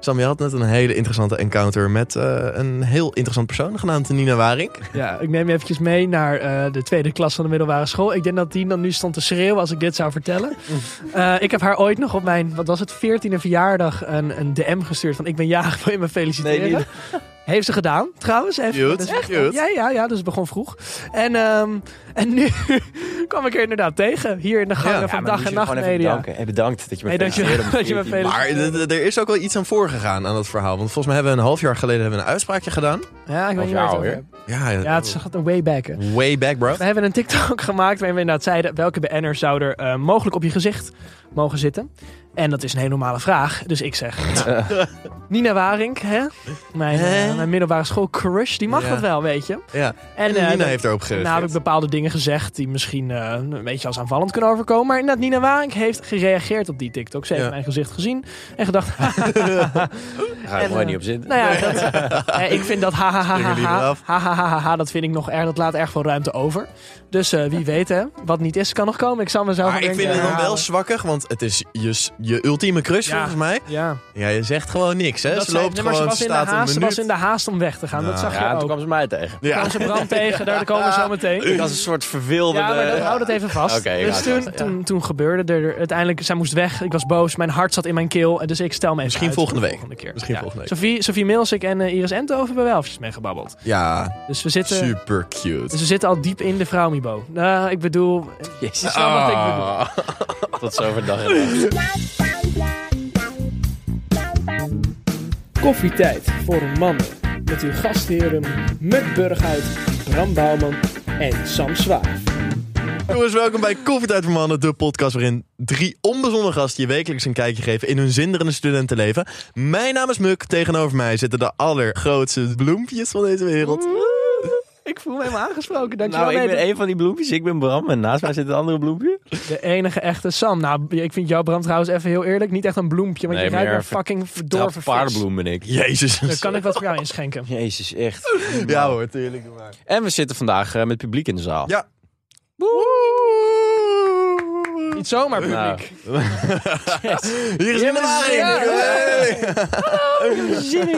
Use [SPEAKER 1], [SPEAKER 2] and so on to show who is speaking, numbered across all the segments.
[SPEAKER 1] Sam, je had net een hele interessante encounter met eh, een heel interessant persoon genaamd Nina Waring.
[SPEAKER 2] Ja, ik neem je eventjes mee naar eh, de tweede klas van de middelbare school. Ik denk dat die dan nu stond te schreeuwen als ik dit zou vertellen. Eh, ik heb haar ooit nog op mijn, wat was het, 14e verjaardag een, een DM gestuurd van ik ben jarig, wil je me feliciteren?
[SPEAKER 1] Nee, niet.
[SPEAKER 2] Heeft ze gedaan, trouwens. Even.
[SPEAKER 1] Cute,
[SPEAKER 2] Dus-
[SPEAKER 1] cute.
[SPEAKER 2] Ja, ja, ja, dus het begon vroeg. En, ehm, en nu kwam ik er inderdaad tegen, hier in de gangen
[SPEAKER 1] Ja,
[SPEAKER 2] van
[SPEAKER 3] maar
[SPEAKER 2] dag
[SPEAKER 3] moet
[SPEAKER 2] en
[SPEAKER 3] je gewoon
[SPEAKER 2] nacht
[SPEAKER 3] even
[SPEAKER 2] media.
[SPEAKER 3] bedanken. Hey, bedankt dat je me
[SPEAKER 2] Hey, dank je wel
[SPEAKER 3] feliciteerde.
[SPEAKER 2] dat je me
[SPEAKER 3] Misschien-
[SPEAKER 2] feliciteerde.
[SPEAKER 1] Maar d- d- er is ook wel iets aan voorgegaan aan dat verhaal. Want volgens mij hebben we een half jaar geleden hebben we een uitspraakje gedaan.
[SPEAKER 2] Ja, ik weet niet
[SPEAKER 3] eh, Ja,
[SPEAKER 2] waar het over
[SPEAKER 3] alweer.
[SPEAKER 2] hebt.
[SPEAKER 1] Ja,
[SPEAKER 2] Ja, het gaat een way back. hè.
[SPEAKER 1] way back, bro.
[SPEAKER 2] We hebben een TikTok gemaakt waarin we inderdaad zeiden welke BN'er zou er eh, mogelijk op je gezicht mogen zitten. En dat is een hele normale vraag. Dus ik zeg, nou, Nina Waring, hè? Mijn, eh,
[SPEAKER 1] Hè?
[SPEAKER 2] mijn middelbare school crush, die mag
[SPEAKER 1] Ja.
[SPEAKER 2] dat wel, weet je.
[SPEAKER 1] Ja.
[SPEAKER 2] En, eh,
[SPEAKER 1] Nina
[SPEAKER 2] dan-
[SPEAKER 1] heeft erop gereageerd.
[SPEAKER 2] daarna heb ik bepaalde dingen gezegd die misschien eh, een beetje als aanvallend kunnen overkomen. Maar inderdaad, Nina Waring heeft gereageerd op die TikTok. Ze heeft
[SPEAKER 1] Ja.
[SPEAKER 2] mijn gezicht gezien en gedacht,
[SPEAKER 3] Daar ga ik
[SPEAKER 2] En,
[SPEAKER 3] mooi
[SPEAKER 2] eh,
[SPEAKER 3] niet op zitten.
[SPEAKER 2] nou ja, dat, eh, ik vind dat ha ha ha
[SPEAKER 1] Spring
[SPEAKER 2] ha
[SPEAKER 1] er liever
[SPEAKER 2] ha,
[SPEAKER 1] af.
[SPEAKER 2] ha, ha, ha, ha, dat vind ik nog erg, dat laat erg veel ruimte over. Dus eh, wie weet hè, wat niet is kan nog komen. Ik zal mezelf
[SPEAKER 1] Maar
[SPEAKER 2] een
[SPEAKER 1] Ah, ik
[SPEAKER 2] keer
[SPEAKER 1] vind het dan wel
[SPEAKER 2] herhalen.
[SPEAKER 1] zwakkig, want het is je, s- je ultieme crush
[SPEAKER 2] Ja.
[SPEAKER 1] volgens mij.
[SPEAKER 2] Ja,
[SPEAKER 1] Ja, je zegt gewoon niks, hè?
[SPEAKER 2] dat
[SPEAKER 1] ze
[SPEAKER 2] zei-
[SPEAKER 1] loopt
[SPEAKER 2] nee, maar
[SPEAKER 1] gewoon,
[SPEAKER 2] ze was, in de
[SPEAKER 1] staat een
[SPEAKER 2] haast, ze was
[SPEAKER 1] minuut.
[SPEAKER 2] in de haast om weg te gaan, dat
[SPEAKER 1] Nou,
[SPEAKER 2] zag
[SPEAKER 3] ja,
[SPEAKER 2] je
[SPEAKER 3] toen
[SPEAKER 2] ook.
[SPEAKER 3] kwam ze mij tegen.
[SPEAKER 1] Ja.
[SPEAKER 2] Kwam ze brand tegen, daar daar komen ze zo meteen.
[SPEAKER 3] Ik was een soort verwilde...
[SPEAKER 2] Ja, maar dat, hou dat even vast.
[SPEAKER 3] Oké, ik
[SPEAKER 2] dus
[SPEAKER 3] houd
[SPEAKER 2] toen,
[SPEAKER 3] het vast, ja.
[SPEAKER 2] toen, toen gebeurde er uiteindelijk, zij moest weg. Ik was boos, mijn hart zat in mijn keel. Dus ik stel me even
[SPEAKER 1] Misschien
[SPEAKER 2] uit
[SPEAKER 1] volgende
[SPEAKER 2] voor
[SPEAKER 1] week.
[SPEAKER 2] de Volgende keer.
[SPEAKER 1] Misschien volgende week.
[SPEAKER 2] Sophie, Sophie Milsik en eh, Iris Ento hebben wel eventjes mee gebabbeld.
[SPEAKER 1] Ja,
[SPEAKER 2] Dus we zitten,
[SPEAKER 1] super cute.
[SPEAKER 2] dus we zitten al diep in de vrouwmibo. Nou, ik bedoel,
[SPEAKER 3] Jezus,
[SPEAKER 2] is wel wat ik bedoel.
[SPEAKER 1] Ah.
[SPEAKER 3] tot zover dag en nacht.
[SPEAKER 2] Koffietijd voor mannen. Met uw gastheren Muk Burghuis, Bram Bouwman en Sam Zwaar.
[SPEAKER 1] Jongens, welkom bij Koffietijd voor Mannen, de podcast waarin drie onbezonnen gasten je wekelijks een kijkje geven in hun zinderende studentenleven. Mijn naam is Muk, tegenover mij zitten de allergrootste bloempjes van deze wereld.
[SPEAKER 2] Ik voel me helemaal aangesproken. Dankjewel.
[SPEAKER 3] Nou, ik
[SPEAKER 2] Nee,
[SPEAKER 3] ben een van die bloempjes. Ik ben Bram en naast mij zit een andere bloempje.
[SPEAKER 2] de- de enige echte Sam. Nou, ik vind jou, Bram, trouwens even heel eerlijk. Niet echt een bloempje, want
[SPEAKER 3] Nee,
[SPEAKER 2] je ruikt
[SPEAKER 3] meer
[SPEAKER 2] naar fucking
[SPEAKER 3] Dat
[SPEAKER 2] verdorven vis.
[SPEAKER 3] paardenbloem ben ik.
[SPEAKER 1] Jezus.
[SPEAKER 2] Daar kan ik wat voor jou inschenken.
[SPEAKER 3] Jezus, echt.
[SPEAKER 1] Ja hoor, tuurlijk. Maar.
[SPEAKER 3] En we zitten vandaag eh, met publiek in de zaal.
[SPEAKER 1] Ja.
[SPEAKER 2] Niet zomaar publiek.
[SPEAKER 3] Nou.
[SPEAKER 1] Hier is Nina Waring.
[SPEAKER 2] Ja.
[SPEAKER 1] Hey.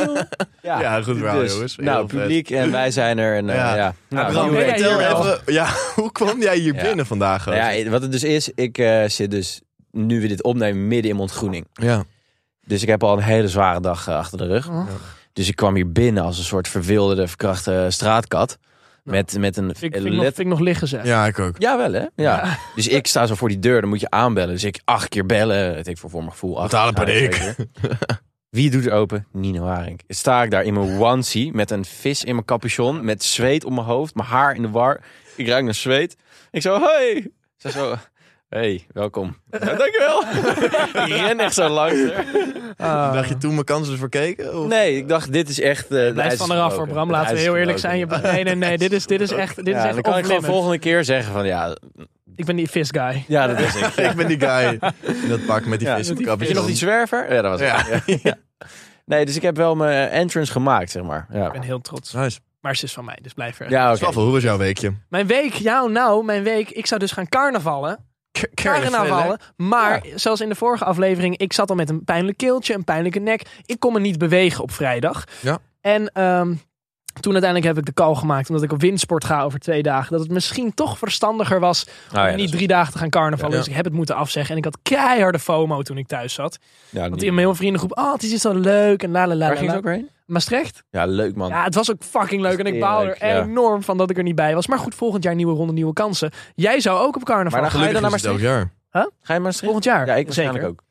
[SPEAKER 3] Ja,
[SPEAKER 1] Ja, goed verhaal, jongens. Heel
[SPEAKER 3] Nou,
[SPEAKER 1] vet.
[SPEAKER 3] publiek en wij zijn er. En, eh,
[SPEAKER 1] Ja.
[SPEAKER 3] ja. Nou,
[SPEAKER 1] Bram,
[SPEAKER 2] ben
[SPEAKER 3] anyway.
[SPEAKER 2] jij
[SPEAKER 1] vertel
[SPEAKER 2] hier wel?
[SPEAKER 1] even, ja, hoe kwam jij hier
[SPEAKER 3] Ja.
[SPEAKER 1] binnen vandaag?
[SPEAKER 3] Nou ja, wat het dus is, ik eh, zit dus, nu we dit opnemen, midden in ontgroening.
[SPEAKER 1] ja.
[SPEAKER 3] Dus ik heb al een hele zware dag eh, achter de rug.
[SPEAKER 2] Och.
[SPEAKER 3] Dus ik kwam hier binnen als een soort verwilderde, verkrachte straatkat. Met, met een...
[SPEAKER 2] Nou, Vind, ik-
[SPEAKER 3] een
[SPEAKER 2] vind, ik nog,
[SPEAKER 3] let-
[SPEAKER 2] vind ik nog liggen zeg.
[SPEAKER 1] ja, ik ook.
[SPEAKER 3] Ja, wel hè? Ja. Dus ik sta zo voor die deur, dan moet je aanbellen. Dus ik acht keer bellen, weet ik voor, voor mijn gevoel. acht
[SPEAKER 1] Totale
[SPEAKER 3] keer,
[SPEAKER 1] paniek.
[SPEAKER 3] twee keer. Wie doet er open? Nino Haring. Sta ik daar in mijn onesie met een vis in mijn capuchon, met zweet op mijn hoofd, mijn haar in de war. Ik ruik naar zweet. Ik zo, hey! Ze zo, hey, welkom. Ja, dankjewel. ik ren echt zo langs. haar.
[SPEAKER 2] Ah.
[SPEAKER 1] Dacht je toen mijn kansen verkeken? Of?
[SPEAKER 3] Nee, ik dacht, dit is echt... eh, het ijs
[SPEAKER 2] Blijf
[SPEAKER 3] is
[SPEAKER 2] van eraf hoor,
[SPEAKER 3] gebroken.
[SPEAKER 2] Bram.
[SPEAKER 3] Het
[SPEAKER 2] Laten we
[SPEAKER 3] ijs is
[SPEAKER 2] heel eerlijk zijn.
[SPEAKER 3] gebroken.
[SPEAKER 2] Je, nee, nee, nee. Dit is, dit is echt, dit is
[SPEAKER 3] Ja,
[SPEAKER 2] echt
[SPEAKER 3] dan kan ik gewoon
[SPEAKER 2] off-limits.
[SPEAKER 3] volgende keer zeggen van, ja,
[SPEAKER 2] Ik ben die vis guy.
[SPEAKER 3] ja dat is ik.
[SPEAKER 1] ik ben die guy in dat pak met die
[SPEAKER 3] Ja,
[SPEAKER 1] vis
[SPEAKER 3] met
[SPEAKER 1] op
[SPEAKER 2] die
[SPEAKER 1] kapje.
[SPEAKER 3] Weet je nog die zwerver? Ja, dat was het.
[SPEAKER 1] Ja.
[SPEAKER 3] Nee, dus ik heb wel mijn entrance gemaakt, zeg maar.
[SPEAKER 2] Ik
[SPEAKER 3] Ja,
[SPEAKER 2] ben heel trots.
[SPEAKER 1] Nice.
[SPEAKER 2] Maar ze is van mij, dus blijf er.
[SPEAKER 3] ja oké.
[SPEAKER 1] Staffel, hoe was jouw weekje?
[SPEAKER 2] Mijn week, ja nou, mijn week. Ik zou dus gaan carnavallen. Carnavallen. Maar zoals in de vorige aflevering, ik zat al met een pijnlijk keeltje, een pijnlijke nek. Ik kon me niet bewegen op vrijdag.
[SPEAKER 1] Ja.
[SPEAKER 2] En ehm, toen uiteindelijk heb ik de call gemaakt, omdat ik op windsport ga over twee dagen. Dat het misschien toch verstandiger was
[SPEAKER 3] Oh, ja,
[SPEAKER 2] om
[SPEAKER 3] dat
[SPEAKER 2] niet
[SPEAKER 3] is-
[SPEAKER 2] drie dagen te gaan carnavallen.
[SPEAKER 1] Ja.
[SPEAKER 2] Dus ik heb het moeten afzeggen. En ik had keiharde FOMO toen ik thuis zat.
[SPEAKER 3] ja,
[SPEAKER 2] Want
[SPEAKER 3] niet-
[SPEAKER 2] in mijn hele vriendengroep, oh het is iets zo leuk en la la la
[SPEAKER 3] Waar
[SPEAKER 2] la,
[SPEAKER 3] ging
[SPEAKER 2] la.
[SPEAKER 3] het ook weer heen?
[SPEAKER 2] Maastricht?
[SPEAKER 3] Ja, leuk man.
[SPEAKER 2] Ja, het was ook fucking leuk. En ik
[SPEAKER 3] Tering
[SPEAKER 2] baal
[SPEAKER 3] leuk,
[SPEAKER 2] er
[SPEAKER 3] ja.
[SPEAKER 2] enorm van dat ik er niet bij was. Maar goed, volgend jaar nieuwe ronde, nieuwe kansen. Jij zou ook op carnaval
[SPEAKER 3] Maar dan
[SPEAKER 2] gaan.
[SPEAKER 3] Ga je dan naar
[SPEAKER 1] Gelukkig is het elk jaar.
[SPEAKER 3] Ga je maar schrijven?
[SPEAKER 2] Volgend jaar.
[SPEAKER 3] Ja, ik
[SPEAKER 2] zeker.
[SPEAKER 3] waarschijnlijk ook.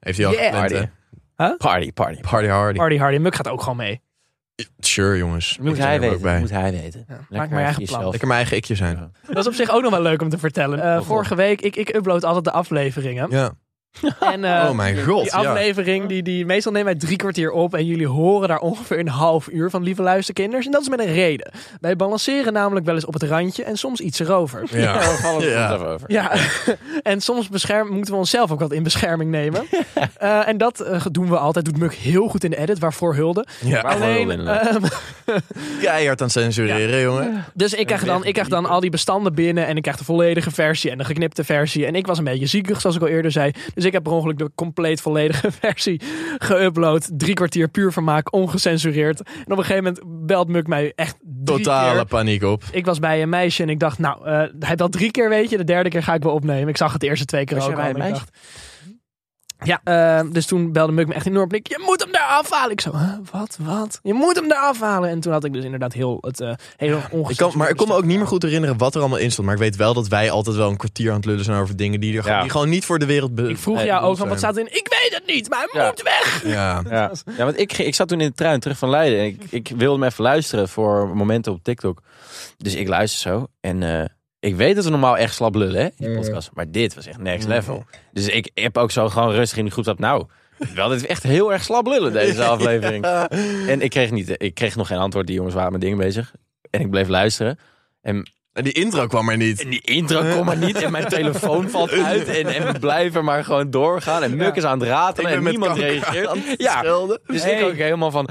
[SPEAKER 1] Heeft hij al
[SPEAKER 2] Yeah.
[SPEAKER 1] gepland, hè?
[SPEAKER 3] Party.
[SPEAKER 2] Huh?
[SPEAKER 3] Party, party.
[SPEAKER 1] Party hardy.
[SPEAKER 2] Hardy Hardy en Muk gaat ook gewoon mee.
[SPEAKER 1] Sure, jongens.
[SPEAKER 3] Moet
[SPEAKER 1] Ik ben
[SPEAKER 3] hij
[SPEAKER 1] er ook
[SPEAKER 3] weten.
[SPEAKER 1] bij.
[SPEAKER 3] Moet hij weten.
[SPEAKER 2] Ja,
[SPEAKER 3] Lekker
[SPEAKER 2] maak maar je eigen
[SPEAKER 3] jezelf.
[SPEAKER 2] plan.
[SPEAKER 1] Lekker mijn eigen ikje zijn.
[SPEAKER 3] Ja.
[SPEAKER 2] Dat is op zich ook nog wel leuk om te vertellen. Eh,
[SPEAKER 3] god.
[SPEAKER 2] vorige week, ik, ik upload altijd de afleveringen.
[SPEAKER 1] Ja.
[SPEAKER 2] En, eh,
[SPEAKER 1] oh mijn god,
[SPEAKER 2] Die
[SPEAKER 1] ja.
[SPEAKER 2] aflevering, die, die, meestal nemen wij drie kwartier op. En jullie horen daar ongeveer een half uur van lieve luisterkinders. En dat is met een reden. Wij balanceren namelijk wel eens op het randje en soms iets erover.
[SPEAKER 1] Ja.
[SPEAKER 3] Ja, we vallen er
[SPEAKER 1] Ja.
[SPEAKER 3] soms even over.
[SPEAKER 2] Ja, en soms bescherm, moeten we onszelf ook wat in bescherming nemen. Eh, en dat eh, doen we altijd. Doet Muk heel goed in de edit, waarvoor hulde.
[SPEAKER 1] Ja.
[SPEAKER 3] Waarvoor
[SPEAKER 2] Alleen,
[SPEAKER 3] hulde, inderdaad.
[SPEAKER 2] ehm,
[SPEAKER 1] Keihard aan het censureren, jongen.
[SPEAKER 2] dus ik krijg, dan, ik krijg dan al die bestanden binnen en ik krijg de volledige versie en de geknipte versie. En ik was een beetje ziekig, zoals ik al eerder zei. Dus ik ik heb per ongeluk de compleet volledige versie geüpload. Drie kwartier puur vermaak, ongecensureerd. En op een gegeven moment belt Muk mij echt drie
[SPEAKER 1] Totale
[SPEAKER 2] keer.
[SPEAKER 1] paniek op.
[SPEAKER 2] Ik was bij een meisje en ik dacht, nou, eh, hij belt drie keer, weet je. De derde keer ga ik wel opnemen. Ik zag het de eerste twee keer
[SPEAKER 3] Was
[SPEAKER 2] ook
[SPEAKER 3] jij bij
[SPEAKER 2] al
[SPEAKER 3] een
[SPEAKER 2] en ik dacht- ja, eh, dus toen belde Muk me echt enorm blik. Je moet hem daar afhalen. Ik zo, huh, wat, wat? Je moet hem daar afhalen. En toen had ik dus inderdaad heel het eh heel
[SPEAKER 1] Ik kan,
[SPEAKER 2] ongecensureerd.
[SPEAKER 1] maar ik kon me ook niet meer goed herinneren wat er allemaal in stond. Maar ik weet wel dat wij altijd wel een kwartier aan het lullen zijn over dingen die, er,
[SPEAKER 3] Ja.
[SPEAKER 1] die gewoon niet voor de wereld be-
[SPEAKER 2] Ik vroeg
[SPEAKER 1] eh,
[SPEAKER 2] jou ook
[SPEAKER 1] bedoeld
[SPEAKER 2] van, wat
[SPEAKER 1] zijn.
[SPEAKER 2] staat erin? Ik weet het niet, maar hij
[SPEAKER 3] Ja.
[SPEAKER 2] moet weg.
[SPEAKER 1] Ja.
[SPEAKER 3] Ja. ja, want ik, ging- ik zat toen in de trein terug van Leiden. En ik, ik wilde hem even luisteren voor momenten op TikTok. Dus ik luister zo. En eh, ik weet dat we normaal echt slap lullen, hè, in de podcast. Maar dit was echt next level. Dus ik heb ook zo gewoon rustig in de groep dat nou... Wel, dit is echt heel erg slap lullen, deze aflevering. En ik kreeg, niet, ik kreeg nog geen antwoord. Die jongens waren met dingen bezig. En ik bleef luisteren.
[SPEAKER 1] En die intro kwam er niet.
[SPEAKER 3] En die intro
[SPEAKER 1] Eh.
[SPEAKER 3] kon maar niet. En mijn telefoon valt uit. En, en we blijven maar gewoon doorgaan. En Muk is aan het ratelen.
[SPEAKER 1] Ik ben
[SPEAKER 3] En
[SPEAKER 1] met
[SPEAKER 3] niemand
[SPEAKER 1] kanker
[SPEAKER 3] reageert.
[SPEAKER 1] Ja.
[SPEAKER 3] Ja, dus ik ook helemaal van,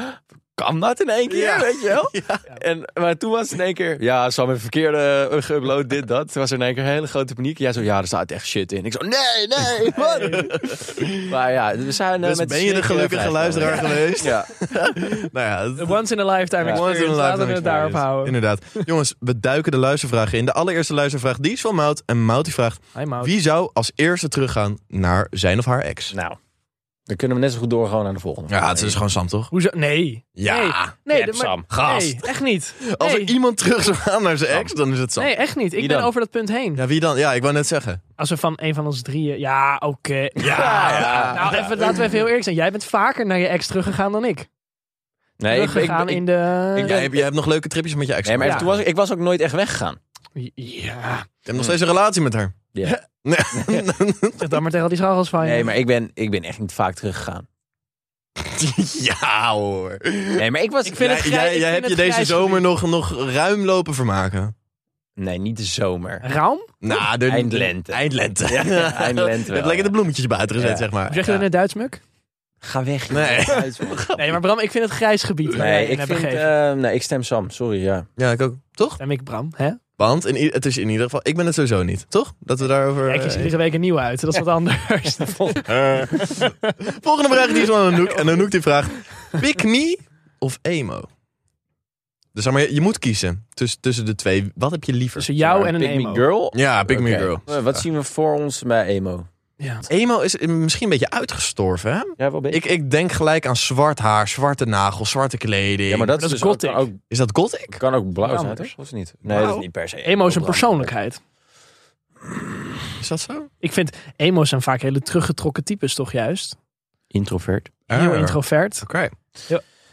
[SPEAKER 3] kan dat in één keer,
[SPEAKER 1] Ja.
[SPEAKER 3] weet je wel? En, maar toen was het in één keer, ja, Sam heeft verkeerde eh, geüpload, dit, dat. Toen was er in één keer een hele grote paniek. Jij zo, ja, er staat echt shit in. Ik zo, nee, nee, man. Maar ja, we zijn eh,
[SPEAKER 1] Dus
[SPEAKER 3] met
[SPEAKER 1] ben je de
[SPEAKER 3] sneaky
[SPEAKER 1] gelukkige
[SPEAKER 3] vrijgekomen.
[SPEAKER 1] luisteraar geweest?
[SPEAKER 3] Ja.
[SPEAKER 1] Nou ja, het-
[SPEAKER 2] Once in a lifetime
[SPEAKER 3] Ja.
[SPEAKER 2] experience.
[SPEAKER 1] Once in a
[SPEAKER 2] Laten we
[SPEAKER 1] lifetime
[SPEAKER 2] het daarop
[SPEAKER 1] experience.
[SPEAKER 2] houden.
[SPEAKER 1] Inderdaad. Jongens, we duiken de luistervragen in. De allereerste luistervraag, die is van Mout. En Mout die vraagt,
[SPEAKER 2] Hi, Maud.
[SPEAKER 1] wie zou als eerste teruggaan naar zijn of haar ex?
[SPEAKER 3] Nou, dan kunnen we net zo goed doorgaan naar de volgende.
[SPEAKER 1] Ja, het is gewoon Sam, toch?
[SPEAKER 2] Hoezo? Nee. Nee,
[SPEAKER 1] Ja.
[SPEAKER 2] nee,
[SPEAKER 3] Nep
[SPEAKER 2] maar-
[SPEAKER 3] Sam.
[SPEAKER 1] Gast.
[SPEAKER 2] nee, echt niet.
[SPEAKER 1] Als er
[SPEAKER 2] Nee.
[SPEAKER 1] iemand terug zou gaan naar zijn ex, dan is het Sam.
[SPEAKER 2] Nee, echt niet.
[SPEAKER 3] Wie
[SPEAKER 2] Ik ben
[SPEAKER 3] dan?
[SPEAKER 2] over dat punt heen.
[SPEAKER 1] Ja, wie dan? Ja, ik wou net zeggen.
[SPEAKER 2] Als we van een van ons drieën... Ja, oké.
[SPEAKER 1] Ja, ja.
[SPEAKER 2] Nou, even, laten we even heel eerlijk zijn. Jij bent vaker naar je ex teruggegaan dan ik.
[SPEAKER 3] Nee, ik, ik,
[SPEAKER 2] teruggegaan
[SPEAKER 3] ik-
[SPEAKER 2] in de...
[SPEAKER 3] ik-
[SPEAKER 1] Jij, hebt- jij hebt nog leuke tripjes met je ex.
[SPEAKER 3] nee, maar
[SPEAKER 2] Ja.
[SPEAKER 3] toen was, ik- ik was ook nooit echt weggegaan.
[SPEAKER 2] ja,
[SPEAKER 1] Je hebt nog steeds een relatie met haar.
[SPEAKER 3] Ja.
[SPEAKER 1] Nee.
[SPEAKER 2] zeg dan maar tegen al die scharrels van je.
[SPEAKER 3] Nee, maar ik ben, ik ben echt niet vaak teruggegaan.
[SPEAKER 1] ja hoor.
[SPEAKER 3] Nee, maar ik was...
[SPEAKER 2] Ik vind het
[SPEAKER 1] jij
[SPEAKER 2] grij-
[SPEAKER 1] jij-
[SPEAKER 2] ik vind
[SPEAKER 1] jij hebt
[SPEAKER 2] het
[SPEAKER 1] je deze
[SPEAKER 2] grijs
[SPEAKER 1] zomer nog, nog ruim lopen vermaken.
[SPEAKER 3] Nee, niet de zomer.
[SPEAKER 2] Raam?
[SPEAKER 1] Nou, de...
[SPEAKER 3] Eindlente.
[SPEAKER 1] Eindlente.
[SPEAKER 3] Ja, eindlente
[SPEAKER 1] Je hebt
[SPEAKER 3] wel,
[SPEAKER 1] lekker de
[SPEAKER 3] ja.
[SPEAKER 1] bloemetjes buiten gezet,
[SPEAKER 3] Ja.
[SPEAKER 1] zeg
[SPEAKER 2] Hoe
[SPEAKER 1] maar.
[SPEAKER 2] Zeg je dat in het Duits, Muk?
[SPEAKER 3] Ga weg.
[SPEAKER 1] Nee.
[SPEAKER 2] Nee, maar Bram, ik vind het grijs gebied. waar jij
[SPEAKER 3] Nee,
[SPEAKER 2] in
[SPEAKER 3] ik,
[SPEAKER 2] hebt
[SPEAKER 3] vind,
[SPEAKER 2] begeven.
[SPEAKER 3] eh, nee, ik stem Sam. Sorry, ja.
[SPEAKER 1] Ja, ik ook. Toch?
[SPEAKER 2] En ik Bram, hè?
[SPEAKER 3] Eh,
[SPEAKER 1] Want in, i- het is in ieder geval... Ik ben het sowieso niet, toch? Dat we daarover...
[SPEAKER 2] Kijk, je ziet
[SPEAKER 1] eh,
[SPEAKER 2] iedere week een nieuwe uit. Dat is wat anders.
[SPEAKER 1] eh. Volgende vraag die is van Anouk. En Anouk die vraagt... Pick me of emo? Dus zeg maar, je, je moet kiezen tuss- tussen de twee. Wat heb je liever?
[SPEAKER 2] Tussen jou en een
[SPEAKER 3] Pick me
[SPEAKER 2] emo.
[SPEAKER 3] girl?
[SPEAKER 1] Ja, pick me
[SPEAKER 3] Oké.
[SPEAKER 1] girl.
[SPEAKER 3] Eh, Wat zien we voor ons bij emo?
[SPEAKER 2] Ja.
[SPEAKER 1] Emo is eh, misschien een beetje uitgestorven, hè?
[SPEAKER 3] Ja, wel beetje.
[SPEAKER 1] Ik, ik denk gelijk aan zwart haar, zwarte nagels, zwarte kleding.
[SPEAKER 3] Ja, maar dat,
[SPEAKER 2] dat
[SPEAKER 3] is
[SPEAKER 2] is
[SPEAKER 3] dus ook,
[SPEAKER 2] gothic.
[SPEAKER 3] kan, ook,
[SPEAKER 1] Is dat gothic?
[SPEAKER 3] kan ook blauw
[SPEAKER 2] Ja,
[SPEAKER 3] zijn,
[SPEAKER 2] anders.
[SPEAKER 3] toch? Of niet? Nee, dat is niet per se.
[SPEAKER 2] Emo is een
[SPEAKER 3] blauw.
[SPEAKER 2] persoonlijkheid.
[SPEAKER 1] Is dat zo?
[SPEAKER 2] Ik vind emo's zijn vaak hele teruggetrokken types, toch juist?
[SPEAKER 3] Introvert.
[SPEAKER 2] Heel
[SPEAKER 1] Ah,
[SPEAKER 2] introvert.
[SPEAKER 1] Oké.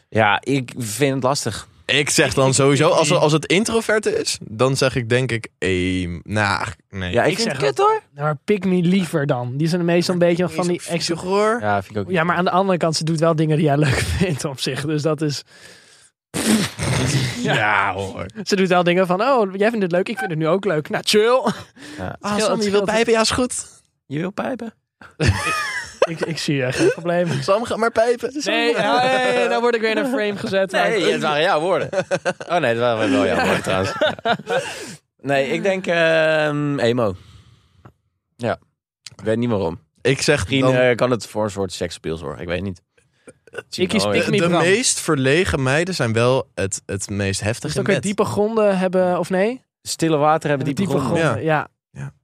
[SPEAKER 3] Ja, ik vind het lastig.
[SPEAKER 1] Ik zeg dan sowieso, als, als het introverte is, dan zeg ik denk ik, ehm, nou, nee.
[SPEAKER 3] Ja, ik,
[SPEAKER 2] Ik
[SPEAKER 3] vind
[SPEAKER 2] zeg
[SPEAKER 3] het kut hoor.
[SPEAKER 2] Nou, Maar pick me liever dan. Die zijn meestal een beetje nog van die extra...
[SPEAKER 1] hoor.
[SPEAKER 3] Ja, vind ik ook.
[SPEAKER 2] Ja, maar aan de andere kant, ze doet wel dingen die jij leuk vindt op zich. Dus dat is...
[SPEAKER 1] Ja. Ah, hoor.
[SPEAKER 2] Ze doet wel dingen van, oh, jij vindt het leuk, ik vind het nu ook leuk. Nou, chill.
[SPEAKER 1] Ah,
[SPEAKER 2] Sam,
[SPEAKER 1] Sam, je wilt pijpen? Ja, is goed.
[SPEAKER 3] Je wil pijpen?
[SPEAKER 2] ik, ik zie eh, geen probleem.
[SPEAKER 1] Sam, ga maar pijpen.
[SPEAKER 2] Nee, ja, nee, nee, dan word ik weer in een frame gezet. maar-
[SPEAKER 3] Nee, het waren jouw woorden. Oh nee, het waren wel jouw woorden trouwens. Ja. Nee, ik denk ehm, emo. Ja. Ik weet niet waarom.
[SPEAKER 1] Ik zeg
[SPEAKER 3] Misschien
[SPEAKER 1] dan,
[SPEAKER 3] eh, kan het voor een soort sekspeel zorgen. Ik weet niet.
[SPEAKER 2] Ik kies
[SPEAKER 3] Oh, ja.
[SPEAKER 2] pick
[SPEAKER 1] de,
[SPEAKER 2] me
[SPEAKER 1] de
[SPEAKER 2] Bram.
[SPEAKER 1] meest verlegen meiden zijn wel het, het meest
[SPEAKER 2] Dus
[SPEAKER 1] heftige
[SPEAKER 2] dan kun je
[SPEAKER 1] bed.
[SPEAKER 2] diepe gronden hebben, of nee?
[SPEAKER 3] Stille water hebben
[SPEAKER 2] Hebben
[SPEAKER 3] diepe gronden.
[SPEAKER 2] Ja.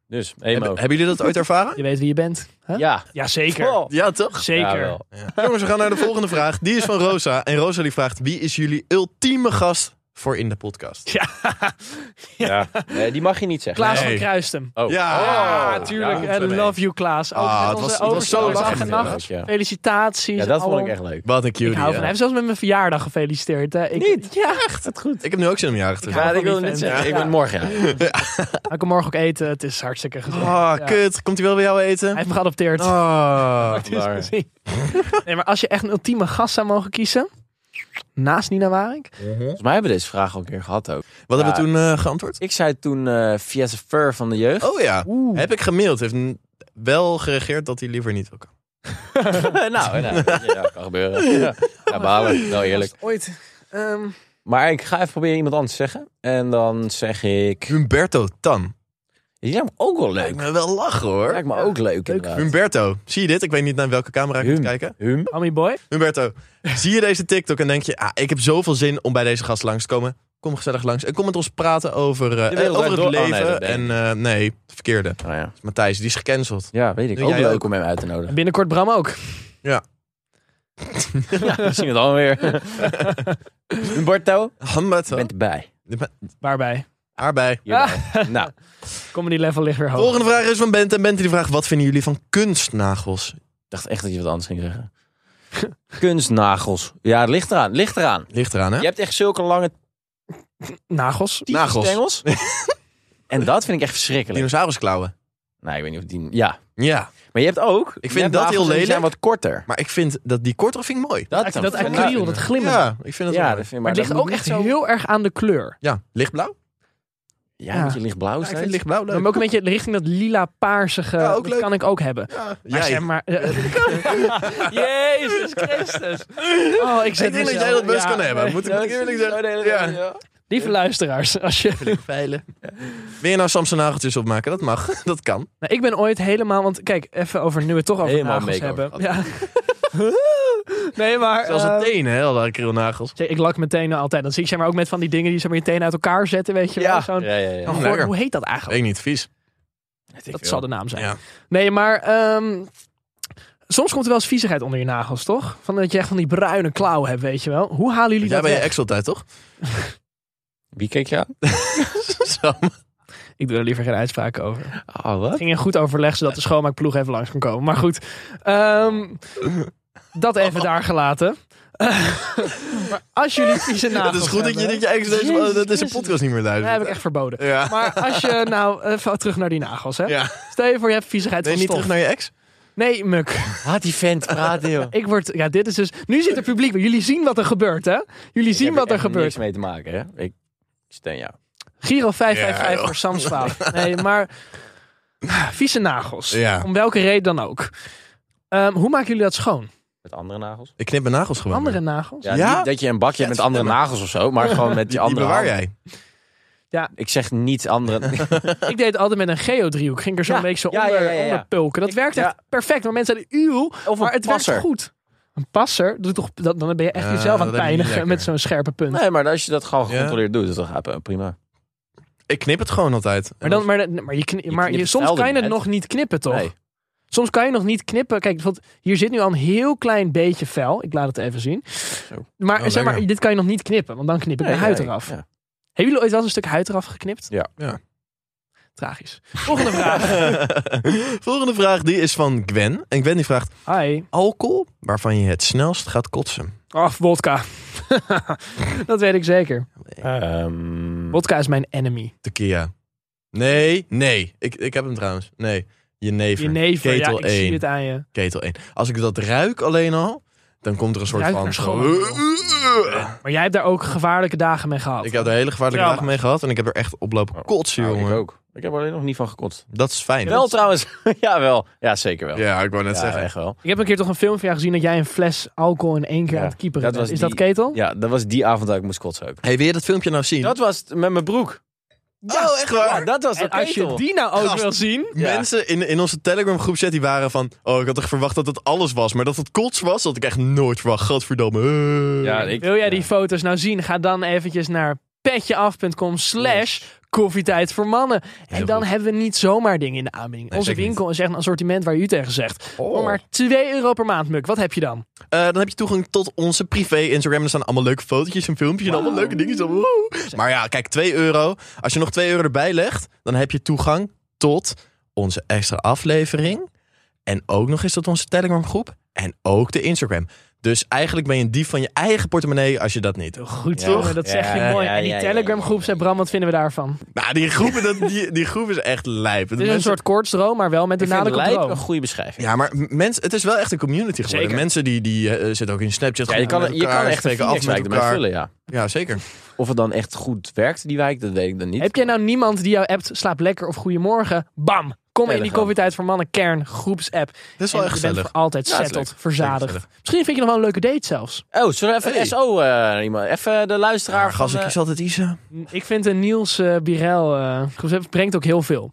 [SPEAKER 3] Dus,
[SPEAKER 1] Hebben,
[SPEAKER 3] emo.
[SPEAKER 1] hebben jullie dat ooit ervaren?
[SPEAKER 2] je weet wie je bent. Huh?
[SPEAKER 3] Ja.
[SPEAKER 2] Ja, zeker.
[SPEAKER 3] Oh.
[SPEAKER 1] Ja, toch?
[SPEAKER 2] Zeker.
[SPEAKER 3] Jawel.
[SPEAKER 1] Jongens, we gaan naar de volgende vraag. Die is van Rosa. En Rosa die vraagt, wie is jullie ultieme gast voor in de podcast?
[SPEAKER 3] Ja. Nee, die mag je niet zeggen.
[SPEAKER 2] Klaas
[SPEAKER 1] Nee.
[SPEAKER 2] van Kruistem.
[SPEAKER 3] Oh.
[SPEAKER 1] Ja.
[SPEAKER 2] Ah, tuurlijk.
[SPEAKER 1] Ja,
[SPEAKER 2] Eh,
[SPEAKER 1] goed,
[SPEAKER 2] love you, Klaas. Ook
[SPEAKER 1] Ah,
[SPEAKER 2] met
[SPEAKER 1] het
[SPEAKER 2] onze
[SPEAKER 1] was- het was
[SPEAKER 2] overstel-
[SPEAKER 1] zo
[SPEAKER 2] dag
[SPEAKER 1] lachend,
[SPEAKER 2] en
[SPEAKER 1] inderdaad.
[SPEAKER 2] nacht.
[SPEAKER 3] Ja.
[SPEAKER 2] Felicitaties.
[SPEAKER 3] Ja, dat vond ik
[SPEAKER 2] allemaal.
[SPEAKER 3] echt leuk.
[SPEAKER 1] Wat een cutie.
[SPEAKER 2] Ik hou van
[SPEAKER 1] hè?
[SPEAKER 2] hem. Zelfs met mijn verjaardag gefeliciteerd. Hè. Ik, Niet? Ja, echt. Het goed.
[SPEAKER 1] Ik heb nu ook zin om jarig te
[SPEAKER 2] Ik
[SPEAKER 1] zijn.
[SPEAKER 2] hou
[SPEAKER 3] Ja,
[SPEAKER 2] van
[SPEAKER 3] ik
[SPEAKER 2] die
[SPEAKER 3] wilde net
[SPEAKER 2] vent.
[SPEAKER 3] zeggen. Ik
[SPEAKER 2] Ja.
[SPEAKER 3] ben morgen. jarig.
[SPEAKER 2] Hij kan morgen ook eten. Het is hartstikke gezellig.
[SPEAKER 1] Ah,
[SPEAKER 2] Ja.
[SPEAKER 1] kut. Komt hij wel bij jou eten?
[SPEAKER 2] Hij heeft me geadopteerd.
[SPEAKER 3] Oh.
[SPEAKER 1] Ah.
[SPEAKER 2] Het is
[SPEAKER 3] waar.
[SPEAKER 2] gezien. nee, maar als je echt een ultieme gast zou mogen kiezen... Naast Nina Waring?
[SPEAKER 3] Volgens mij hebben we deze vraag al een keer gehad ook.
[SPEAKER 1] Wat hebben we
[SPEAKER 3] Ja.
[SPEAKER 1] toen eh, geantwoord?
[SPEAKER 3] Ik zei toen eh via de fur van de jeugd.
[SPEAKER 1] Oh ja.
[SPEAKER 2] Oeh.
[SPEAKER 1] Heb ik gemaild. Heeft n- wel gereageerd dat hij liever niet wil komen.
[SPEAKER 3] nou, nou, ja, kan gebeuren. Ja, ja balen. Wel eerlijk.
[SPEAKER 2] Ooit. ehm,
[SPEAKER 3] Maar ik ga even proberen iemand anders te zeggen. En dan zeg ik...
[SPEAKER 1] Humberto Tan.
[SPEAKER 3] Die zijn ook wel leuk.
[SPEAKER 1] Lijkt me wel lachen hoor.
[SPEAKER 3] Lijkt me ook leuk. inderdaad.
[SPEAKER 1] Humberto, zie je dit? Ik weet niet naar welke camera ik moet
[SPEAKER 3] Hum.
[SPEAKER 1] kijken.
[SPEAKER 3] Hum.
[SPEAKER 2] Hammy boy.
[SPEAKER 1] Humberto, zie je deze TikTok en denk je, ah, ik heb zoveel zin om bij deze gast langs te komen. Kom gezellig langs en kom met ons praten over, eh,
[SPEAKER 3] De wereld
[SPEAKER 1] over het
[SPEAKER 3] draait door. Oh,
[SPEAKER 1] leven.
[SPEAKER 3] nee, dat
[SPEAKER 1] en
[SPEAKER 3] denk
[SPEAKER 1] eh, nee, het verkeerde.
[SPEAKER 3] Oh, ja.
[SPEAKER 1] Matthijs, die is gecanceld.
[SPEAKER 3] ja, weet ik.
[SPEAKER 1] Doe
[SPEAKER 3] ook
[SPEAKER 1] jij
[SPEAKER 3] leuk
[SPEAKER 1] ook.
[SPEAKER 3] om hem uit te nodigen.
[SPEAKER 2] En binnenkort Bram ook.
[SPEAKER 3] ja, we zien het dan weer. Humberto, je
[SPEAKER 1] Humberto,
[SPEAKER 3] bent erbij.
[SPEAKER 2] Waarbij?
[SPEAKER 1] aardbei.
[SPEAKER 3] Hierbij. Nou,
[SPEAKER 2] Comedy level ligt weer hoog.
[SPEAKER 1] Volgende vraag is van Bent. En Bent die vraagt, wat vinden jullie van kunstnagels?
[SPEAKER 3] ik dacht echt dat je wat anders ging zeggen. Kunstnagels. Ja, het ligt eraan. Ligt eraan.
[SPEAKER 1] Ligt eraan, hè?
[SPEAKER 3] Je hebt echt zulke lange
[SPEAKER 2] Nagels.
[SPEAKER 1] Nagels.
[SPEAKER 3] stengels. en dat vind ik echt verschrikkelijk.
[SPEAKER 1] Dinosaurusklauwen.
[SPEAKER 3] Nee, ik weet niet of die... Ja.
[SPEAKER 1] Ja,
[SPEAKER 3] Maar je hebt ook... je
[SPEAKER 1] vind
[SPEAKER 3] hebt
[SPEAKER 1] dat
[SPEAKER 3] nagels
[SPEAKER 1] heel
[SPEAKER 3] en die zijn
[SPEAKER 1] lelijk.
[SPEAKER 3] wat korter.
[SPEAKER 1] maar ik vind dat die kortere vind ik mooi.
[SPEAKER 2] Dat, dat,
[SPEAKER 3] vind ik-
[SPEAKER 2] acryl, dat glimmend.
[SPEAKER 1] Ja, ik vind dat wel
[SPEAKER 3] Ja, dat
[SPEAKER 1] mooi.
[SPEAKER 3] vind ik...
[SPEAKER 2] Maar
[SPEAKER 3] Maar
[SPEAKER 2] het
[SPEAKER 3] dat
[SPEAKER 2] ligt ook
[SPEAKER 3] moet
[SPEAKER 2] echt
[SPEAKER 3] niet zo...
[SPEAKER 2] heel erg aan de kleur.
[SPEAKER 1] Ja, lichtblauw?
[SPEAKER 3] Ja, moet je lichtblauw
[SPEAKER 1] Ja, ik vind
[SPEAKER 3] zijn.
[SPEAKER 1] lichtblauw leuk.
[SPEAKER 2] Maar ook een beetje richting dat lila paarsige.
[SPEAKER 1] Ja, ook
[SPEAKER 2] dat
[SPEAKER 1] leuk.
[SPEAKER 2] kan ik ook hebben.
[SPEAKER 1] Ja,
[SPEAKER 2] Maar
[SPEAKER 1] jij.
[SPEAKER 2] zeg maar. eh, Jezus Christus. Oh, ik zit
[SPEAKER 1] Ik denk dat
[SPEAKER 2] mezelf-
[SPEAKER 1] jij dat best
[SPEAKER 2] ja,
[SPEAKER 1] kan hebben.
[SPEAKER 2] nee.
[SPEAKER 1] Moet ik moet ik eerlijk zeggen. Ja.
[SPEAKER 2] Lieve luisteraars, als je
[SPEAKER 1] Veilen. Wil je nou Samson nageltjes opmaken? Dat mag. Dat kan.
[SPEAKER 2] Nou, ik ben ooit helemaal, want kijk, even over nu we het toch over
[SPEAKER 3] Helemaal
[SPEAKER 2] nagels hebben.
[SPEAKER 3] makeover
[SPEAKER 2] Ja. nee, maar
[SPEAKER 1] Zelfs
[SPEAKER 2] ehm,
[SPEAKER 1] een tenen, hè, hadden acrylnagels.
[SPEAKER 2] zeg, ik lak mijn tenen altijd. Dan zie ik zeg maar ook met van die dingen die ze maar je tenen uit elkaar zetten, weet je wel.
[SPEAKER 3] Ja,
[SPEAKER 2] Zo'n,
[SPEAKER 3] ja, ja. ja.
[SPEAKER 1] Oh,
[SPEAKER 2] Goh,
[SPEAKER 1] lekker.
[SPEAKER 2] hoe heet dat eigenlijk?
[SPEAKER 1] Ik niet, vies.
[SPEAKER 2] dat zal de naam zijn.
[SPEAKER 1] Ja.
[SPEAKER 2] Nee, maar ehm, soms komt er wel eens viezigheid onder je nagels, toch? Van dat je echt van die bruine klauwen hebt, weet je wel. Hoe halen jullie
[SPEAKER 1] Jij
[SPEAKER 2] dat
[SPEAKER 1] bent je
[SPEAKER 2] weg?
[SPEAKER 1] ex altijd, toch?
[SPEAKER 3] Wie keek je aan?
[SPEAKER 1] Sam.
[SPEAKER 2] Ik doe er liever geen uitspraken over.
[SPEAKER 3] Oh, wat?
[SPEAKER 2] ging in goed overleg, zodat de schoonmaakploeg even langs kon komen. Maar goed, ehm, dat even daar gelaten. maar als jullie vieze nagels
[SPEAKER 1] Het is goed dat je,
[SPEAKER 2] hebben,
[SPEAKER 1] dat je ex deze,
[SPEAKER 2] Jezus
[SPEAKER 1] dat deze
[SPEAKER 2] Christus.
[SPEAKER 1] podcast niet meer
[SPEAKER 2] Dat heb ik
[SPEAKER 1] luistert.
[SPEAKER 2] echt verboden.
[SPEAKER 1] Ja.
[SPEAKER 2] Maar als je nou, even terug naar die nagels hè.
[SPEAKER 1] Ja.
[SPEAKER 2] Stel je voor je hebt viezigheid
[SPEAKER 1] Nee,
[SPEAKER 2] van
[SPEAKER 1] niet
[SPEAKER 2] stof.
[SPEAKER 1] terug naar je ex?
[SPEAKER 2] Nee, muk.
[SPEAKER 3] Laat die vent praten, joh.
[SPEAKER 2] Ik word, ja dit is dus, nu zit het publiek, jullie zien wat er gebeurt hè. Jullie zien wat er gebeurt.
[SPEAKER 3] niks mee te maken, hè? Ik steun jou.
[SPEAKER 2] Giro
[SPEAKER 1] Ja,
[SPEAKER 2] 555
[SPEAKER 1] joh.
[SPEAKER 2] voor Sam's Vader. Nee, maar Ah, vieze nagels.
[SPEAKER 1] Ja.
[SPEAKER 2] Om welke reden dan ook. Ehm, hoe maken jullie dat schoon?
[SPEAKER 3] Met andere nagels?
[SPEAKER 1] Ik knip mijn nagels gewoon.
[SPEAKER 2] Andere nagels?
[SPEAKER 3] Ja,
[SPEAKER 1] Ja?
[SPEAKER 3] niet dat je een bakje hebt met andere nagels of zo, maar gewoon met je
[SPEAKER 1] Die, die
[SPEAKER 3] andere
[SPEAKER 1] bewaar
[SPEAKER 3] handen.
[SPEAKER 1] jij.
[SPEAKER 3] Ik zeg niet andere...
[SPEAKER 2] Ik deed het altijd met een geodriehoek. Ging er zo'n
[SPEAKER 3] Ja,
[SPEAKER 2] week zo
[SPEAKER 3] ja,
[SPEAKER 2] onder,
[SPEAKER 3] ja, ja, ja.
[SPEAKER 2] onder pulken. Dat
[SPEAKER 3] Ik-
[SPEAKER 2] werkt echt
[SPEAKER 3] ja.
[SPEAKER 2] perfect. Maar mensen zeiden, uw,
[SPEAKER 3] Of
[SPEAKER 2] maar
[SPEAKER 3] een
[SPEAKER 2] het
[SPEAKER 3] passer.
[SPEAKER 2] werkt goed. Een passer, doet toch, dat, dan ben je echt
[SPEAKER 1] Ja,
[SPEAKER 2] jezelf aan
[SPEAKER 1] dat
[SPEAKER 2] het
[SPEAKER 1] heb je niet
[SPEAKER 2] pijnigen
[SPEAKER 1] lekker.
[SPEAKER 2] met zo'n scherpe punt.
[SPEAKER 3] Nee, maar als je dat gewoon
[SPEAKER 1] Ja.
[SPEAKER 3] gecontroleerd doet, is dat gaat, eh, prima.
[SPEAKER 1] Ik knip het gewoon altijd.
[SPEAKER 2] Maar, dan, maar, maar, je kni-
[SPEAKER 3] Je
[SPEAKER 2] maar je-
[SPEAKER 3] knipt
[SPEAKER 2] soms
[SPEAKER 3] hetzelfde
[SPEAKER 2] kan je het
[SPEAKER 3] net.
[SPEAKER 2] nog niet knippen, toch?
[SPEAKER 3] Nee.
[SPEAKER 2] Soms kan je nog niet knippen. Kijk, bijvoorbeeld, hier zit nu al een heel klein beetje vel. Ik laat het even zien. Maar,
[SPEAKER 1] Oh,
[SPEAKER 2] zeg maar
[SPEAKER 1] lekker.
[SPEAKER 2] dit kan je nog niet knippen, want dan knip ik
[SPEAKER 3] Nee,
[SPEAKER 2] de huid
[SPEAKER 3] ja,
[SPEAKER 2] eraf.
[SPEAKER 3] ja.
[SPEAKER 2] Hebben jullie ooit wel eens een stuk huid eraf geknipt?
[SPEAKER 3] Ja.
[SPEAKER 1] Ja.
[SPEAKER 2] Tragisch. Volgende vraag.
[SPEAKER 1] Volgende vraag die is van Gwen. En Gwen die vraagt:
[SPEAKER 2] Hi.
[SPEAKER 1] alcohol waarvan je het snelst gaat kotsen.
[SPEAKER 2] Ach, vodka. dat weet ik zeker.
[SPEAKER 1] Hm.
[SPEAKER 3] Ehm,
[SPEAKER 2] Vodka is mijn enemy.
[SPEAKER 1] Tequila. Nee, nee. Ik, ik heb hem trouwens. Nee. Je never.
[SPEAKER 2] Je never, ja,
[SPEAKER 1] Ketel
[SPEAKER 2] ik
[SPEAKER 1] 1.
[SPEAKER 2] zie het aan je.
[SPEAKER 1] Ketel 1. Als ik dat ruik alleen al, dan komt er een soort
[SPEAKER 2] Ruikt
[SPEAKER 1] van.
[SPEAKER 2] naar schoon. Maar jij hebt daar ook gevaarlijke dagen mee gehad.
[SPEAKER 1] Ik heb er hele gevaarlijke
[SPEAKER 2] Ja,
[SPEAKER 1] dagen mee gehad en ik heb er echt oplopen
[SPEAKER 3] Oh,
[SPEAKER 1] kotsen,
[SPEAKER 3] nou,
[SPEAKER 1] jongen.
[SPEAKER 3] Ik ook. Ik heb er alleen nog niet van gekotst.
[SPEAKER 1] Dat is fijn.
[SPEAKER 3] Wel trouwens. ja, wel. Ja, zeker wel.
[SPEAKER 1] Ja, ik wou net
[SPEAKER 3] Ja,
[SPEAKER 1] zeggen.
[SPEAKER 3] echt wel.
[SPEAKER 2] Ik heb een keer toch een film van jou gezien dat jij een fles alcohol in één keer
[SPEAKER 3] Ja,
[SPEAKER 2] aan het kieperen
[SPEAKER 3] dat
[SPEAKER 2] bent.
[SPEAKER 3] was
[SPEAKER 2] Is dat
[SPEAKER 3] die-
[SPEAKER 2] ketel?
[SPEAKER 3] Ja, dat was die avond dat ik moest kotsen ook.
[SPEAKER 1] Hey, wil je dat filmpje nou zien?
[SPEAKER 3] Dat was het met mijn broek.
[SPEAKER 1] Oh, echt waar?
[SPEAKER 3] Ja, dat was de
[SPEAKER 2] En als je
[SPEAKER 3] ketel.
[SPEAKER 2] die nou ook
[SPEAKER 1] Gast.
[SPEAKER 2] wil zien...
[SPEAKER 3] Ja.
[SPEAKER 1] Mensen in, in onze Telegram groep chat die waren van... Oh, ik had echt verwacht dat het alles was. Maar dat het kots was, dat ik echt nooit verwacht. Gadverdamme. Eh.
[SPEAKER 3] Ja, ik,
[SPEAKER 2] Wil jij die
[SPEAKER 3] ja.
[SPEAKER 2] foto's nou zien? Ga dan eventjes naar petjeaf.com slash koffietijd voor mannen.
[SPEAKER 1] Heel
[SPEAKER 2] En dan
[SPEAKER 1] goed.
[SPEAKER 2] hebben we niet zomaar dingen in de aanbieding.
[SPEAKER 1] Nee,
[SPEAKER 2] Onze
[SPEAKER 1] zeker
[SPEAKER 2] winkel is echt een assortiment waar u tegen zegt.
[SPEAKER 1] Oh.
[SPEAKER 2] Voor maar 2 euro per maand, Muk. Wat heb je dan?
[SPEAKER 1] Eh, dan heb je toegang tot onze privé Instagram. Er staan allemaal leuke fotootjes en filmpjes en allemaal leuke dingetjes. Woe. Maar ja, kijk, 2 euro. Als je nog 2 euro erbij legt, dan heb je toegang tot onze extra aflevering. En ook nog eens tot onze Telegram groep. En ook de Instagram. Dus eigenlijk ben je een dief van je eigen portemonnee als je dat niet doet.
[SPEAKER 2] Goed,
[SPEAKER 3] Ja.
[SPEAKER 2] jongen. Dat
[SPEAKER 3] Ja,
[SPEAKER 2] zeg je
[SPEAKER 3] ja,
[SPEAKER 2] mooi.
[SPEAKER 3] ja,
[SPEAKER 2] en die
[SPEAKER 3] ja, ja,
[SPEAKER 2] Telegram groep,
[SPEAKER 3] ja.
[SPEAKER 2] zei Bram, wat vinden we daarvan?
[SPEAKER 1] Nou, die groep, dat, die, die groep is echt lijp.
[SPEAKER 2] Het is een soort koortsdroom, maar wel met de
[SPEAKER 3] ik vind
[SPEAKER 2] nadruk op
[SPEAKER 3] lijp
[SPEAKER 2] droom.
[SPEAKER 3] een goede beschrijving.
[SPEAKER 1] Ja, maar m- mensen, het is wel echt een community geworden.
[SPEAKER 2] Zeker.
[SPEAKER 1] Mensen die, die eh, zitten ook in Snapchat.
[SPEAKER 3] Ja, je
[SPEAKER 1] gewoon
[SPEAKER 3] kan,
[SPEAKER 1] met
[SPEAKER 3] je kan
[SPEAKER 1] elkaar,
[SPEAKER 3] echt een
[SPEAKER 1] spreken af met
[SPEAKER 3] Phoenix-wijk ermee
[SPEAKER 1] elkaar.
[SPEAKER 3] vullen, ja.
[SPEAKER 1] Ja, zeker.
[SPEAKER 3] Of het dan echt goed werkt, die wijk, dat weet ik dan niet.
[SPEAKER 2] Heb jij nou niemand die jou appt, slaap lekker of goedemorgen? Bam! Kom in die
[SPEAKER 3] Telegram.
[SPEAKER 2] koffietijd voor mannen kern groepsapp.
[SPEAKER 1] Dat is
[SPEAKER 2] En
[SPEAKER 1] wel echt
[SPEAKER 2] je bent
[SPEAKER 1] gezellig.
[SPEAKER 2] voor altijd
[SPEAKER 3] Ja, is
[SPEAKER 2] settled,
[SPEAKER 1] leuk.
[SPEAKER 2] verzadigd.
[SPEAKER 1] Zeker
[SPEAKER 2] Misschien vind je nog wel een leuke date zelfs.
[SPEAKER 3] Oh, zullen we even
[SPEAKER 1] Hey.
[SPEAKER 3] de SO eh, iemand? Even de luisteraar
[SPEAKER 1] Maar gast, ik
[SPEAKER 3] van... eh,
[SPEAKER 1] kies altijd Isa.
[SPEAKER 2] Ik vind een Niels eh Birel eh, groepsapp brengt ook heel veel.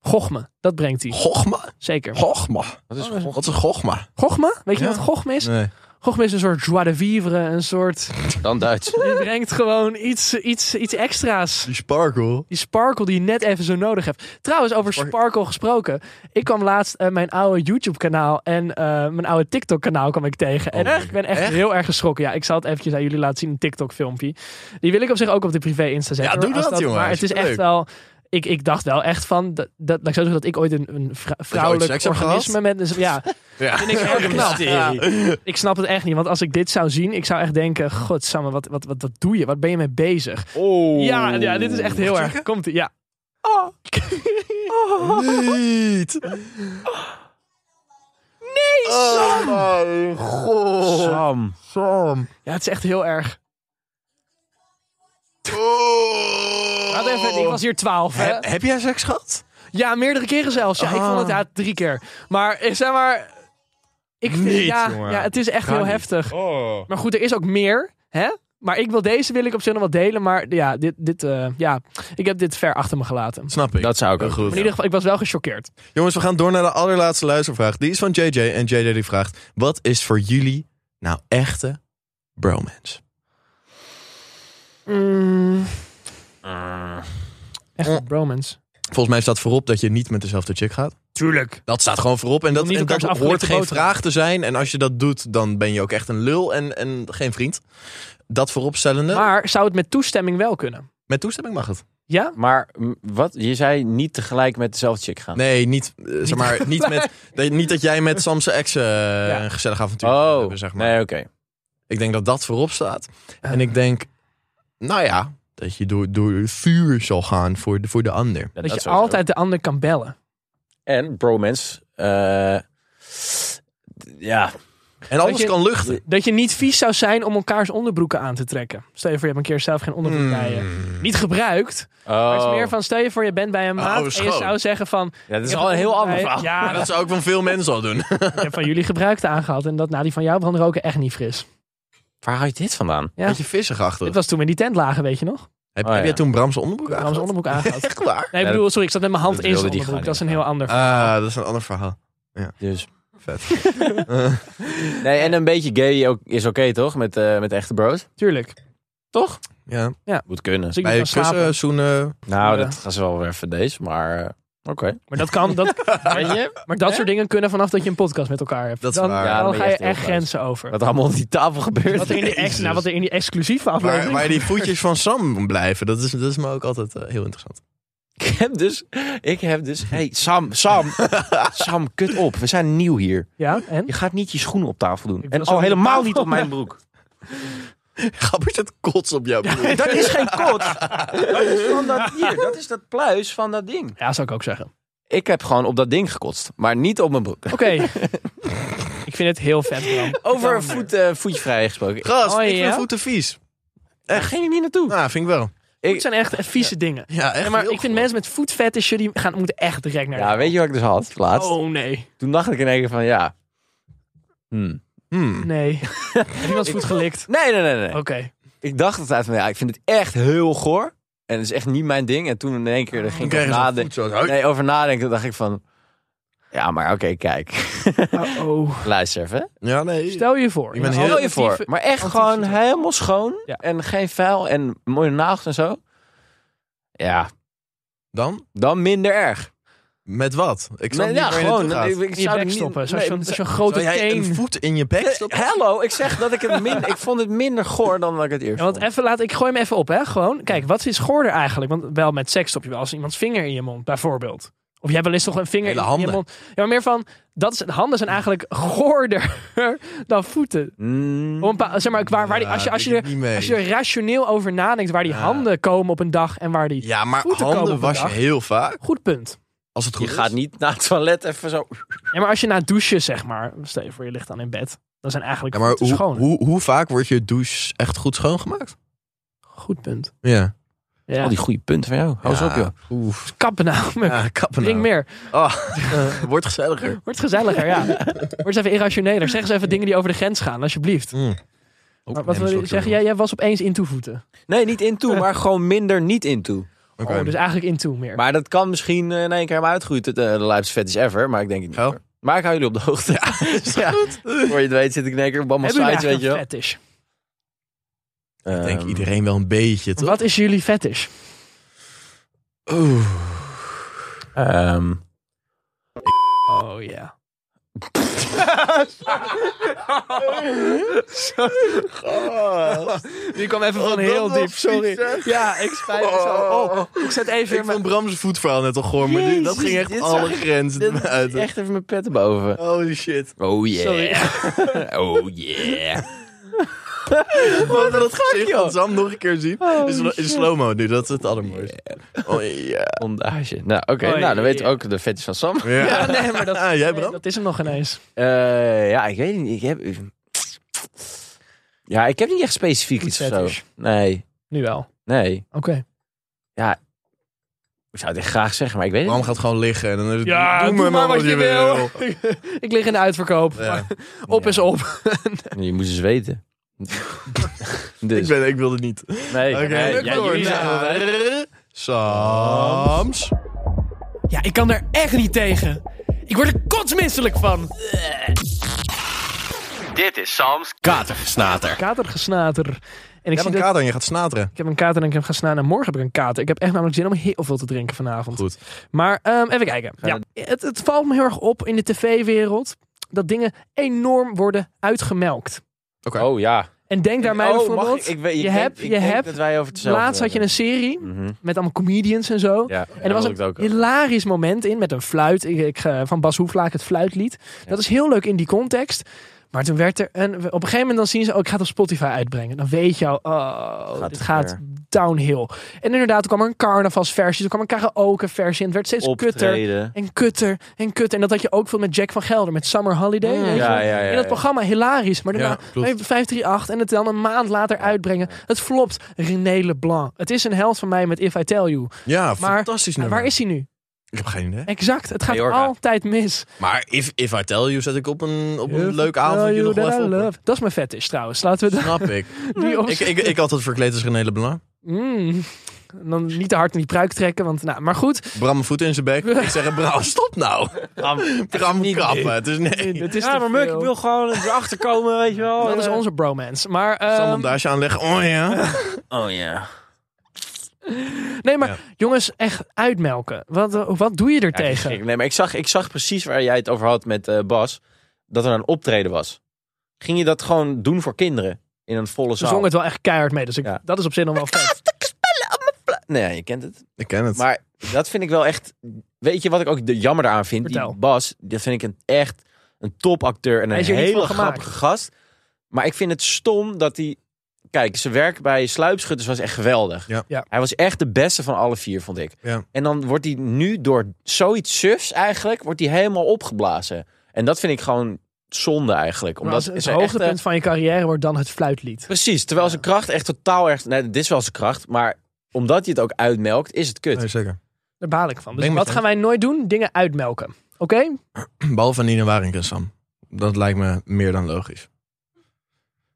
[SPEAKER 2] Gochme, dat brengt hij.
[SPEAKER 1] Gochma?
[SPEAKER 2] Zeker.
[SPEAKER 1] Gochma.
[SPEAKER 3] Wat is
[SPEAKER 2] Oh, dat is-
[SPEAKER 3] goch-
[SPEAKER 1] Wat is een gochma?
[SPEAKER 2] Gochme? Weet je
[SPEAKER 1] Ja.
[SPEAKER 2] wat gochme is?
[SPEAKER 1] Nee.
[SPEAKER 2] Gochme is een soort joie de vivre. Een soort...
[SPEAKER 3] dan Duits?
[SPEAKER 2] Je brengt gewoon iets, iets, iets extra's.
[SPEAKER 1] Die sparkle.
[SPEAKER 2] Die sparkle die je net even zo nodig hebt. Trouwens, over
[SPEAKER 1] Spark-
[SPEAKER 2] sparkle gesproken. Ik kwam laatst eh, mijn oude YouTube-kanaal en eh, mijn oude TikTok-kanaal kwam ik tegen. En
[SPEAKER 1] Oh,
[SPEAKER 2] ik ben echt,
[SPEAKER 1] echt?
[SPEAKER 2] heel erg geschrokken. Ja, ik zal het eventjes aan jullie laten zien, een TikTok-filmpje. Die wil ik op zich ook op de privé-insta zetten.
[SPEAKER 1] Ja, doe
[SPEAKER 2] hoor, als
[SPEAKER 1] dat, jongen.
[SPEAKER 2] Maar het is echt
[SPEAKER 1] Superleuk.
[SPEAKER 2] wel... Ik, ik dacht wel echt van, dat, dat, dat ik zou zeggen dat ik ooit een, een vrou-
[SPEAKER 1] seks
[SPEAKER 2] vrouwelijk
[SPEAKER 1] hebt
[SPEAKER 2] organisme met... een- Ja,
[SPEAKER 1] Ja.
[SPEAKER 2] vind ik erg knap.
[SPEAKER 3] mysterie.
[SPEAKER 2] Ja. Ik snap het echt niet, want als ik dit zou zien, ik zou echt denken, godsamme, wat, wat, wat, wat doe je? Wat ben je mee bezig?
[SPEAKER 3] Oh.
[SPEAKER 2] Ja, ja, dit is echt heel erg. Komt ie, ja.
[SPEAKER 1] Ah. Niet. Nee, Sam. Oh mijn god.
[SPEAKER 3] Sam.
[SPEAKER 1] Sam.
[SPEAKER 2] Ja, het is echt heel erg.
[SPEAKER 1] Oh.
[SPEAKER 2] Laat even, ik was hier 12. Hè?
[SPEAKER 1] Heb, heb jij seks gehad?
[SPEAKER 2] Ja, meerdere keren zelfs. Ja, ik vond het
[SPEAKER 1] Ah.
[SPEAKER 2] ja, drie keer. Maar eh, zeg maar. Ik vind,
[SPEAKER 1] Niet,
[SPEAKER 2] ja,
[SPEAKER 1] jongen.
[SPEAKER 2] ja, het is echt
[SPEAKER 3] Kan
[SPEAKER 2] heel
[SPEAKER 3] niet.
[SPEAKER 2] heftig.
[SPEAKER 1] Oh.
[SPEAKER 2] Maar goed, er is ook meer. Hè? Maar ik wil deze wil ik op zich nog wel delen. Maar ja, dit, dit, eh, ja, ik heb dit ver achter me gelaten. Maar
[SPEAKER 1] Snap ik.
[SPEAKER 3] Dat zou ik
[SPEAKER 1] Heel
[SPEAKER 3] ook
[SPEAKER 1] goed.
[SPEAKER 2] in ieder geval, ik was wel gechoqueerd.
[SPEAKER 1] Jongens, we gaan door naar de allerlaatste luistervraag. Die is van JJ. En JJ die vraagt: Wat is voor jullie nou echte bromance?
[SPEAKER 2] echt een bromance.
[SPEAKER 1] Volgens mij staat voorop dat je niet met dezelfde chick gaat.
[SPEAKER 2] Tuurlijk.
[SPEAKER 1] Dat staat gewoon voorop. En dat,
[SPEAKER 2] niet
[SPEAKER 1] en
[SPEAKER 2] elkaars
[SPEAKER 1] dat hoort
[SPEAKER 2] afgelekte
[SPEAKER 1] geen
[SPEAKER 2] boterham.
[SPEAKER 1] vraag te zijn. En als je dat doet, dan ben je ook echt een lul en, en geen vriend. Dat vooropstellende.
[SPEAKER 2] Maar zou het met toestemming wel kunnen?
[SPEAKER 1] Met toestemming mag het.
[SPEAKER 2] Ja?
[SPEAKER 3] Maar mm, wat? Je zei niet tegelijk met dezelfde chick gaan.
[SPEAKER 1] Nee, niet, eh, zeg maar, niet, met, dat- niet dat jij met Samse ex eh, een gezellig avontuur gaat
[SPEAKER 3] Oh,
[SPEAKER 1] hebben, zeg maar.
[SPEAKER 3] nee, oké.
[SPEAKER 1] Ik denk dat dat voorop staat.
[SPEAKER 2] Eh.
[SPEAKER 1] En ik denk, nou ja, dat je door, door het vuur zal gaan voor de, voor de ander.
[SPEAKER 3] Ja,
[SPEAKER 2] Dat, je
[SPEAKER 3] sowieso.
[SPEAKER 2] altijd de ander kan bellen.
[SPEAKER 3] En bromance. eh, ja,
[SPEAKER 1] En alles
[SPEAKER 2] je-
[SPEAKER 1] kan luchten.
[SPEAKER 2] Dat je niet vies zou zijn om elkaars onderbroeken aan te trekken. Stel je voor, je hebt een keer zelf geen onderbroek bij je.
[SPEAKER 1] Mm.
[SPEAKER 2] Niet gebruikt. Maar
[SPEAKER 3] Oh.
[SPEAKER 2] het is meer van, stel je voor, je bent bij een maat en je
[SPEAKER 1] schoon.
[SPEAKER 2] zou zeggen van...
[SPEAKER 3] Ja, Oh, dat is
[SPEAKER 2] ik heb
[SPEAKER 3] al een heel ander
[SPEAKER 2] onderbroek bij-
[SPEAKER 3] verhaal.
[SPEAKER 1] Maar
[SPEAKER 2] Ja,
[SPEAKER 1] dat zou ik van veel mensen al doen.
[SPEAKER 2] ik heb van jullie gebruikte aangehad en dat na die van jou brand roken echt niet fris.
[SPEAKER 3] Waar haal je dit vandaan?
[SPEAKER 2] Ja.
[SPEAKER 1] Beetje vissig achter.
[SPEAKER 2] Dit was toen we in die tent lagen, weet je nog?
[SPEAKER 1] Heb,
[SPEAKER 3] Oh,
[SPEAKER 1] heb
[SPEAKER 3] ja.
[SPEAKER 1] jij toen Bram's onderbroek aan?
[SPEAKER 2] Bram's onderbroek aangehad.
[SPEAKER 1] Echt waar?
[SPEAKER 2] Nee, ik
[SPEAKER 3] Ja,
[SPEAKER 2] bedoel, sorry, ik zat met mijn hand
[SPEAKER 3] dat
[SPEAKER 2] in zijn
[SPEAKER 3] wilde die
[SPEAKER 2] onderbroek. Dat
[SPEAKER 3] gaan
[SPEAKER 2] is een heel ander.
[SPEAKER 1] Ah, dat is een ander verhaal.
[SPEAKER 3] Dus.
[SPEAKER 1] Vet.
[SPEAKER 3] Nee, en een beetje gay ook, is oké, toch? Met, eh, met echte bros.
[SPEAKER 2] Tuurlijk. Toch?
[SPEAKER 1] Ja.
[SPEAKER 3] Moet kunnen.
[SPEAKER 2] Als ik niet
[SPEAKER 1] Bij
[SPEAKER 2] kan slapen.
[SPEAKER 1] kussen, zoenen.
[SPEAKER 3] Nou,
[SPEAKER 2] Ja.
[SPEAKER 3] dat gaan ze wel weer even deze, maar eh, oké.
[SPEAKER 2] Maar dat kan, dat,
[SPEAKER 3] Weet je?
[SPEAKER 2] maar dat soort dingen kunnen vanaf dat je een podcast met elkaar hebt.
[SPEAKER 1] Dat is
[SPEAKER 2] dan
[SPEAKER 1] waar.
[SPEAKER 3] Ja, dan
[SPEAKER 2] dan
[SPEAKER 3] ben je
[SPEAKER 2] ga je
[SPEAKER 3] echt heel
[SPEAKER 2] echt
[SPEAKER 3] groot.
[SPEAKER 2] grenzen over.
[SPEAKER 3] Wat allemaal op die tafel gebeurt.
[SPEAKER 2] Wat er in die, ex,
[SPEAKER 1] Jezus.
[SPEAKER 2] nou, wat er in die exclusieve
[SPEAKER 1] Waar,
[SPEAKER 2] aflevering
[SPEAKER 1] waar die voetjes van Sam blijven. Dat is, dat is me ook altijd eh, heel interessant.
[SPEAKER 3] Ik heb dus, ik heb dus, hey Sam, Sam, Sam, kut op. We zijn nieuw hier.
[SPEAKER 2] Ja, en?
[SPEAKER 3] Je gaat niet je schoenen op tafel doen.
[SPEAKER 2] Ik
[SPEAKER 3] En
[SPEAKER 2] was
[SPEAKER 3] al
[SPEAKER 2] op de
[SPEAKER 3] helemaal
[SPEAKER 2] tafel.
[SPEAKER 3] niet op mijn broek.
[SPEAKER 1] Grappig dat kots op jouw broek.
[SPEAKER 3] Dat is geen kot. Dat is van dat hier. Dat is dat pluis van dat ding.
[SPEAKER 2] Ja, zou ik ook zeggen.
[SPEAKER 3] Ik heb gewoon op dat ding gekotst, maar niet op mijn broek.
[SPEAKER 2] Oké. ik vind het heel vet, Bram.
[SPEAKER 3] Over voet, eh, voetjevrij gesproken.
[SPEAKER 1] Gast,
[SPEAKER 2] Oh,
[SPEAKER 1] ik vind
[SPEAKER 2] ja?
[SPEAKER 1] voeten vies.
[SPEAKER 3] Echt, ging je niet naartoe?
[SPEAKER 1] Nou, vind ik wel.
[SPEAKER 2] Het zijn echt vieze dingen.
[SPEAKER 1] Ja, echt
[SPEAKER 2] Ja, maar
[SPEAKER 1] heel
[SPEAKER 2] ik vind
[SPEAKER 1] goed.
[SPEAKER 2] mensen met voetfetishen, die gaan, moeten echt direct naar
[SPEAKER 3] Ja, weet je wat ik dus had laatst?
[SPEAKER 2] Oh, nee.
[SPEAKER 3] Toen dacht ik in één keer van ja. Hmm.
[SPEAKER 1] Hmm.
[SPEAKER 2] Nee. Heb iemand voet gelikt?
[SPEAKER 3] Nee, nee, nee, nee.
[SPEAKER 2] Oké.
[SPEAKER 3] Ik dacht altijd van ja, ik vind het echt heel goor. En het is echt niet mijn ding. En toen in één
[SPEAKER 2] Oh,
[SPEAKER 3] keer er
[SPEAKER 1] Dan
[SPEAKER 3] ging ik
[SPEAKER 1] krijg
[SPEAKER 3] over
[SPEAKER 1] je zo'n
[SPEAKER 3] nadenken.
[SPEAKER 1] voet zo. Hoi.
[SPEAKER 3] Nee, over nadenken dacht ik van. Ja, maar oké, kijk.
[SPEAKER 2] Oh, oh.
[SPEAKER 3] Luister even.
[SPEAKER 1] Ja, nee.
[SPEAKER 2] Stel je voor.
[SPEAKER 1] Ik ben
[SPEAKER 2] een
[SPEAKER 1] heel-
[SPEAKER 3] Stel je voor.
[SPEAKER 2] alternatieve-
[SPEAKER 3] Maar echt
[SPEAKER 2] alternatieve
[SPEAKER 3] gewoon
[SPEAKER 2] dag.
[SPEAKER 3] helemaal schoon.
[SPEAKER 2] Ja.
[SPEAKER 3] En geen vuil. En mooie nagels en zo. Ja,
[SPEAKER 1] Dan?
[SPEAKER 3] dan minder erg.
[SPEAKER 1] Met wat? Ik snap
[SPEAKER 3] Nee,
[SPEAKER 1] niet
[SPEAKER 3] ja,
[SPEAKER 1] waar je
[SPEAKER 3] gewoon.
[SPEAKER 1] naartoe gaat.
[SPEAKER 3] Ik, ik
[SPEAKER 2] In je
[SPEAKER 3] zou er
[SPEAKER 2] bek
[SPEAKER 3] niet-
[SPEAKER 2] stoppen. Zo'n
[SPEAKER 3] nee,
[SPEAKER 2] zo'n-
[SPEAKER 3] zou-
[SPEAKER 2] zo'n grote
[SPEAKER 1] Zou jij
[SPEAKER 2] teen.
[SPEAKER 1] een voet in je bek stoppen?
[SPEAKER 3] Hallo, ik zeg dat ik het minder. ik vond het minder goor dan dat ik het eerst.
[SPEAKER 2] Ja, want
[SPEAKER 3] vond.
[SPEAKER 2] even laat, ik gooi hem even op, hè? Gewoon. Kijk, wat is goorder eigenlijk? Want wel met seks stop je wel als iemands vinger in je mond, bijvoorbeeld. Of jij hebt wel eens toch een vinger
[SPEAKER 1] Hele
[SPEAKER 2] in je
[SPEAKER 1] handen.
[SPEAKER 2] mond. Ja, maar meer van, dat is, handen zijn eigenlijk goorder dan voeten.
[SPEAKER 3] Mm,
[SPEAKER 2] Op een bepaal- zeg maar, waar, waar die,
[SPEAKER 1] Ja,
[SPEAKER 2] als, je, als, je
[SPEAKER 1] weet Nou, ik
[SPEAKER 2] er,
[SPEAKER 1] niet mee.
[SPEAKER 2] als je er rationeel over nadenkt waar die
[SPEAKER 1] Ja.
[SPEAKER 2] handen komen op een dag en waar die...
[SPEAKER 1] Ja, maar
[SPEAKER 2] Voeten komen
[SPEAKER 1] handen
[SPEAKER 2] op
[SPEAKER 1] was
[SPEAKER 2] een
[SPEAKER 1] je
[SPEAKER 2] dag.
[SPEAKER 1] heel vaak.
[SPEAKER 2] Goed punt.
[SPEAKER 1] Als het goed
[SPEAKER 3] je gaat
[SPEAKER 1] is.
[SPEAKER 3] niet naar het toilet even zo.
[SPEAKER 2] Ja, maar als je na het douchen, zeg maar, stel je voor je ligt dan in bed, dan zijn eigenlijk
[SPEAKER 1] Ja, maar
[SPEAKER 2] voeten
[SPEAKER 1] hoe,
[SPEAKER 2] schoon.
[SPEAKER 1] hoe, hoe vaak wordt je douche echt goed schoongemaakt?
[SPEAKER 2] Goed punt.
[SPEAKER 1] Ja.
[SPEAKER 2] Ja.
[SPEAKER 3] Al die goede punten van jou. Hou eens op,
[SPEAKER 1] Ja.
[SPEAKER 3] joh.
[SPEAKER 1] Oef.
[SPEAKER 2] Kappen nou,
[SPEAKER 1] Ja, kappen
[SPEAKER 2] Drink
[SPEAKER 1] nou.
[SPEAKER 2] meer.
[SPEAKER 1] Ah, wordt gezelliger.
[SPEAKER 2] Wordt gezelliger, ja. Wordt eens even irrationeler. Zeg eens even dingen die over de grens gaan, alsjeblieft.
[SPEAKER 1] Mm.
[SPEAKER 2] Maar wat wil je zeggen? Jij, jij was opeens in toevoeten.
[SPEAKER 3] Nee, niet into, maar gewoon minder niet into.
[SPEAKER 1] Oké.
[SPEAKER 2] Oh, dus eigenlijk in toe meer.
[SPEAKER 3] Maar dat kan misschien eh, in één keer maar uitgroeien tot eh, de Leipzig Fetish Ever. Maar ik denk het niet.
[SPEAKER 1] Oh.
[SPEAKER 3] hoor. Maar ik hou jullie op de hoogte. Ja,
[SPEAKER 1] goed.
[SPEAKER 3] Voor je het weet zit ik in één keer op allemaal
[SPEAKER 2] Hebben jullie
[SPEAKER 3] sites, weet
[SPEAKER 2] eigenlijk een
[SPEAKER 3] je wel.
[SPEAKER 2] fetish?
[SPEAKER 1] Ik denk
[SPEAKER 3] Ehm,
[SPEAKER 1] iedereen wel een beetje, toch?
[SPEAKER 2] Wat is jullie fetish?
[SPEAKER 1] Oeh.
[SPEAKER 3] ehm,
[SPEAKER 2] Oh ja. Die kwam even van
[SPEAKER 1] Oh,
[SPEAKER 2] heel
[SPEAKER 1] dat
[SPEAKER 2] diep.
[SPEAKER 1] was- sorry.
[SPEAKER 2] Sorry. Ja, ik spijt me zo. Oh, ik zet even
[SPEAKER 1] Ik
[SPEAKER 2] weer
[SPEAKER 1] vond
[SPEAKER 2] mijn...
[SPEAKER 1] Bram's voetverhaal net al goor, maar nu, dat
[SPEAKER 3] Jezus,
[SPEAKER 1] ging echt
[SPEAKER 3] dit
[SPEAKER 1] alle
[SPEAKER 3] zag ik-
[SPEAKER 1] grenzen
[SPEAKER 3] dit-
[SPEAKER 1] uit.
[SPEAKER 3] echt even mijn pet boven.
[SPEAKER 1] Holy shit.
[SPEAKER 3] Oh yeah.
[SPEAKER 2] Sorry.
[SPEAKER 3] Oh yeah.
[SPEAKER 1] Wat dat gezicht
[SPEAKER 3] joh?
[SPEAKER 1] van Sam nog een keer zien.
[SPEAKER 3] Oh,
[SPEAKER 1] is in
[SPEAKER 3] shit.
[SPEAKER 1] slow-mo nu, dat is het allermooiste. Oh ja.
[SPEAKER 3] Bondage. Nou, oké.
[SPEAKER 2] Oh,
[SPEAKER 3] nou,
[SPEAKER 2] yeah.
[SPEAKER 3] dan weten we ook de fetish van Sam.
[SPEAKER 2] Ja, nee, maar dat,
[SPEAKER 1] Ah, jij
[SPEAKER 2] nee,
[SPEAKER 1] Bram?
[SPEAKER 2] dat is hem nog ineens.
[SPEAKER 3] Eh, ja, ik weet niet. Ik heb... Ja, ik heb niet echt specifiek
[SPEAKER 2] Goed
[SPEAKER 3] iets of zo.
[SPEAKER 2] fetish.
[SPEAKER 3] Nee,
[SPEAKER 2] Nu wel.
[SPEAKER 3] nee.
[SPEAKER 2] Oké.
[SPEAKER 3] Ik zou het echt graag zeggen, maar ik weet het
[SPEAKER 1] Bram
[SPEAKER 3] niet.
[SPEAKER 1] gaat gewoon liggen en dan is het, doe, maar wat je wil.
[SPEAKER 2] ik lig in de uitverkoop.
[SPEAKER 1] Ja.
[SPEAKER 2] Op is
[SPEAKER 3] Ja.
[SPEAKER 2] op.
[SPEAKER 3] Je moet eens weten.
[SPEAKER 1] Ik,
[SPEAKER 3] dus,
[SPEAKER 1] ben, ik wil het niet. Oké,
[SPEAKER 3] nee. nee,
[SPEAKER 1] leuk
[SPEAKER 3] ja,
[SPEAKER 1] hoor.
[SPEAKER 3] jullie zijn wel weg.
[SPEAKER 1] Naar Sams.
[SPEAKER 2] Ja, ik kan daar echt niet tegen. Ik word er kotsmisselijk van.
[SPEAKER 4] Dit is Sam's Katergesnater.
[SPEAKER 2] Katergesnater. En ik,
[SPEAKER 1] Je
[SPEAKER 2] zie
[SPEAKER 1] hebt
[SPEAKER 2] dat,
[SPEAKER 1] een kater en je gaat snateren.
[SPEAKER 2] ik heb een kater en ik heb gaan slaan. En morgen heb ik een kater. Ik heb echt namelijk zin om heel veel te drinken vanavond.
[SPEAKER 1] Goed.
[SPEAKER 2] Maar ehm, even kijken. Ja, het, het valt me heel erg op in de tv-wereld dat dingen enorm worden uitgemelkt.
[SPEAKER 1] Oké.
[SPEAKER 3] Oh ja.
[SPEAKER 2] En denk daarmee
[SPEAKER 3] oh,
[SPEAKER 2] bijvoorbeeld.
[SPEAKER 3] mag ik? Ik weet- ik
[SPEAKER 2] je
[SPEAKER 3] denk-
[SPEAKER 2] hebt,
[SPEAKER 3] ik
[SPEAKER 2] je
[SPEAKER 3] denk
[SPEAKER 2] hebt.
[SPEAKER 3] dat wij over hetzelfde
[SPEAKER 2] Laatst had je een
[SPEAKER 3] hebben.
[SPEAKER 2] serie
[SPEAKER 3] Mhm.
[SPEAKER 2] met allemaal comedians en zo.
[SPEAKER 3] Ja,
[SPEAKER 2] En er was een hilarisch moment in met een fluit. Ik, ik, eh, van Bas Hoeflaak, het fluitlied. Dat is heel leuk in die context. Maar toen werd er een... Op een gegeven moment dan zien ze... Oh, ik ga het op Spotify uitbrengen. Dan weet je al... Oh,
[SPEAKER 3] Gaat
[SPEAKER 2] dit
[SPEAKER 3] het
[SPEAKER 2] gaat downhill. En inderdaad, toen kwam er een carnavalsversie. Toen kwam er een karaokeversie. En het werd steeds kutter.
[SPEAKER 3] optreden.
[SPEAKER 2] En kutter. En kutter. En dat had je ook veel met Jack van Gelder. Met Summer Holiday. weet je wel.
[SPEAKER 3] Mm. Ja, ja, ja.
[SPEAKER 2] In dat
[SPEAKER 3] ja.
[SPEAKER 2] programma hilarisch. Maar
[SPEAKER 1] Ja,
[SPEAKER 2] daarna
[SPEAKER 1] klopt.
[SPEAKER 2] bij 538 en het dan een maand later uitbrengen. Het flopt. René Leblanc. Het is een held van mij met If I Tell You.
[SPEAKER 1] Ja,
[SPEAKER 2] Maar-
[SPEAKER 1] fantastisch
[SPEAKER 2] En
[SPEAKER 1] nummer.
[SPEAKER 2] waar is hij nu?
[SPEAKER 1] Ik heb geen idee.
[SPEAKER 2] Exact. Het gaat
[SPEAKER 3] Mallorca.
[SPEAKER 2] altijd mis.
[SPEAKER 1] Maar if, if I tell you zet ik op een, op een leuk avondje nog wel even op. hoor.
[SPEAKER 2] Dat is mijn fetish trouwens. Laten we dat
[SPEAKER 1] Snap ik.
[SPEAKER 2] nu op.
[SPEAKER 1] ik, ik. Ik had het verkleed als René Leblanc.
[SPEAKER 2] Mm. En Dan niet te hard in die pruik trekken. Want, nou, maar goed.
[SPEAKER 1] Bram mijn voet in zijn bek. Ik zeg, Bram, stop nou. Bram,
[SPEAKER 3] niet
[SPEAKER 1] kappen. Het is nee.
[SPEAKER 2] Het is
[SPEAKER 3] Ja,
[SPEAKER 2] te
[SPEAKER 3] maar Muk,
[SPEAKER 2] veel.
[SPEAKER 3] ik wil eh, gewoon erachter komen, weet je wel.
[SPEAKER 2] Dat is onze bromance. Maar,
[SPEAKER 1] Zal
[SPEAKER 2] ehm,
[SPEAKER 1] een daasje aanleggen. Oh ja.
[SPEAKER 3] Oh ja.
[SPEAKER 2] nee, maar
[SPEAKER 1] Ja.
[SPEAKER 2] jongens, echt uitmelken. Wat, eh, wat doe je er tegen?
[SPEAKER 3] Ik, nee, maar ik zag, ik zag precies waar jij het over had met eh, Bas. Dat er een optreden was. Ging je dat gewoon doen voor kinderen? In een volle
[SPEAKER 2] Ze
[SPEAKER 3] zaal?
[SPEAKER 2] zong het wel echt keihard mee. Dus ik,
[SPEAKER 3] Ja.
[SPEAKER 2] dat is op zich nog wel vet.
[SPEAKER 3] Nee, ja, je kent het.
[SPEAKER 1] Ik ken het.
[SPEAKER 3] Maar dat vind ik wel echt... Weet je wat ik ook de jammer daaraan vind?
[SPEAKER 2] Vertel.
[SPEAKER 3] Die Bas, dat vind ik een, echt een topacteur en
[SPEAKER 2] Hij
[SPEAKER 3] een
[SPEAKER 2] is er niet
[SPEAKER 3] hele
[SPEAKER 2] van gemaakt.
[SPEAKER 3] grappige gast. Maar ik vind het stom dat hij... Kijk, zijn werk bij Sluipschutters was echt geweldig.
[SPEAKER 1] Ja.
[SPEAKER 2] Ja.
[SPEAKER 3] Hij was echt de beste van alle vier, vond ik.
[SPEAKER 1] Ja.
[SPEAKER 3] En dan wordt hij nu door zoiets sufs eigenlijk... wordt hij helemaal opgeblazen. En dat vind ik gewoon zonde eigenlijk.
[SPEAKER 2] Omdat
[SPEAKER 3] Omdat
[SPEAKER 2] het, het
[SPEAKER 3] zijn echte-
[SPEAKER 1] eh,
[SPEAKER 2] hoogtepunt van je carrière wordt dan het fluitlied.
[SPEAKER 3] Precies, terwijl zijn kracht echt totaal erg... Nee, dit is wel zijn kracht, maar omdat hij het ook uitmelkt, is het kut.
[SPEAKER 1] Nee, zeker.
[SPEAKER 2] Daar baal ik van. Dus
[SPEAKER 1] Ben ik
[SPEAKER 2] wat
[SPEAKER 1] met
[SPEAKER 2] gaan wij nooit doen? Dingen uitmelken. Oké?
[SPEAKER 1] Behalve Nina Waring en Sam. Dat lijkt me meer dan logisch.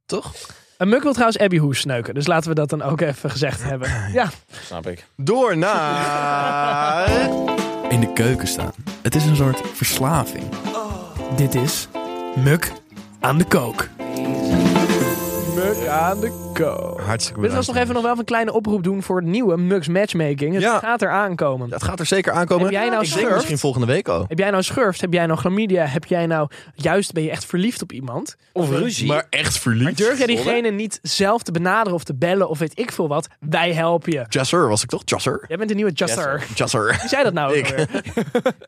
[SPEAKER 1] Toch?
[SPEAKER 2] En Muk wil trouwens Abby Hoes sneuken. Dus laten we dat dan ook even gezegd hebben. Ja,
[SPEAKER 3] Snap ik.
[SPEAKER 1] Door naar... In de keuken staan. Het is een soort verslaving.
[SPEAKER 2] dit is Muk aan de kook. Muk aan de kook.
[SPEAKER 1] Hartstikke
[SPEAKER 2] Dit
[SPEAKER 1] bedankt.
[SPEAKER 2] was nog even nog wel even een kleine oproep doen voor het nieuwe Mux Matchmaking. Het
[SPEAKER 1] Ja.
[SPEAKER 2] gaat er aankomen.
[SPEAKER 1] Het gaat er zeker aankomen.
[SPEAKER 2] Heb jij nou
[SPEAKER 1] ik denk
[SPEAKER 2] surft?
[SPEAKER 1] misschien volgende week al.
[SPEAKER 2] Heb jij nou schurft? Heb jij nou chlamydia? Heb jij nou juist ben je echt verliefd op iemand?
[SPEAKER 3] Of ruzie.
[SPEAKER 1] Maar echt verliefd.
[SPEAKER 2] Durf jij diegene niet zelf te benaderen of te bellen of weet ik veel wat? Wij helpen je.
[SPEAKER 1] Jasser was ik toch? Jasser?
[SPEAKER 2] Jij bent de nieuwe Jusser.
[SPEAKER 3] Jasser.
[SPEAKER 1] Jasser.
[SPEAKER 2] Wie zei dat nou? ook
[SPEAKER 1] Ik.
[SPEAKER 2] alweer?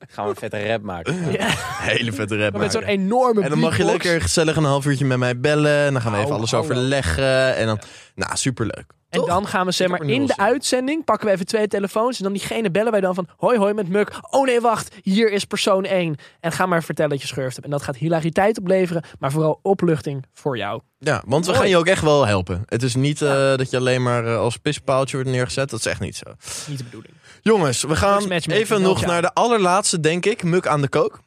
[SPEAKER 3] Gaan we een vette rap maken.
[SPEAKER 1] Hele vette rap
[SPEAKER 2] Met zo'n
[SPEAKER 1] maken.
[SPEAKER 2] enorme
[SPEAKER 1] Nou, En dan mag je
[SPEAKER 2] beatbox.
[SPEAKER 1] lekker gezellig een half uurtje met mij bellen. En dan gaan we even
[SPEAKER 2] Oh,
[SPEAKER 1] alles
[SPEAKER 2] hallo.
[SPEAKER 1] overleggen. En dan, nou, superleuk.
[SPEAKER 2] En
[SPEAKER 1] Toch?
[SPEAKER 2] dan gaan we zeg
[SPEAKER 1] Ik heb
[SPEAKER 2] maar
[SPEAKER 1] er nul
[SPEAKER 2] in de
[SPEAKER 1] zin in.
[SPEAKER 2] uitzending pakken we even twee telefoons en dan diegene bellen wij dan van hoi hoi met Muk. Oh nee wacht, hier is persoon 1 en ga maar vertellen dat je schurft hebt en dat gaat hilariteit opleveren, maar vooral opluchting voor jou.
[SPEAKER 1] Ja, want we
[SPEAKER 2] Mooi.
[SPEAKER 1] gaan je ook echt wel helpen. Het is niet eh, dat je alleen maar eh, als pispaaltje wordt neergezet. Dat is echt niet zo.
[SPEAKER 2] Niet de bedoeling.
[SPEAKER 1] Jongens, we
[SPEAKER 2] Dat is
[SPEAKER 1] gaan
[SPEAKER 2] matchmaking,
[SPEAKER 1] even
[SPEAKER 2] elk
[SPEAKER 1] nog
[SPEAKER 2] jaar.
[SPEAKER 1] naar de allerlaatste, denk ik. Muk aan de kook.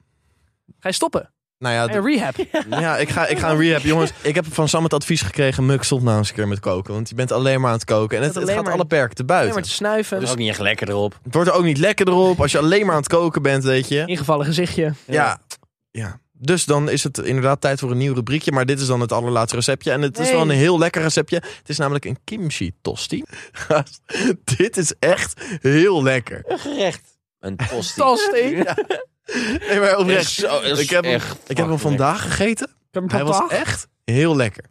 [SPEAKER 2] Ga je stoppen?
[SPEAKER 1] Nou ja,
[SPEAKER 2] En rehab.
[SPEAKER 1] Ja, ik ga, ik ga een rehab. Jongens, ik heb van Sam het advies gekregen... Muk, stop nou eens een keer met koken. Want je bent alleen maar aan het koken. En het,
[SPEAKER 2] Het
[SPEAKER 1] het
[SPEAKER 2] alleen
[SPEAKER 1] gaat
[SPEAKER 2] maar-
[SPEAKER 1] alle perken te
[SPEAKER 2] Alleen
[SPEAKER 1] buiten.
[SPEAKER 2] maar te snuiven.
[SPEAKER 3] Dat is ook niet echt lekker erop.
[SPEAKER 1] Het wordt er ook niet lekker erop als je alleen maar aan het koken bent, weet je.
[SPEAKER 2] Ingevallen gezichtje.
[SPEAKER 1] Ja. ja. Dus dan is het inderdaad tijd voor een nieuw rubriekje. Maar dit is dan het allerlaatste receptje. En het is
[SPEAKER 2] Nee.
[SPEAKER 1] wel een heel lekker receptje. Het is namelijk een kimchi tosti. Gast, dit is echt heel lekker.
[SPEAKER 3] Gerecht. Een tosti.
[SPEAKER 2] Tosti.
[SPEAKER 1] Nee, maar oprecht.
[SPEAKER 3] Is zo- is
[SPEAKER 1] ik heb hem,
[SPEAKER 3] echt
[SPEAKER 1] ik heb hem
[SPEAKER 3] fucking
[SPEAKER 1] vandaag gegeten. Hij was echt heel lekker.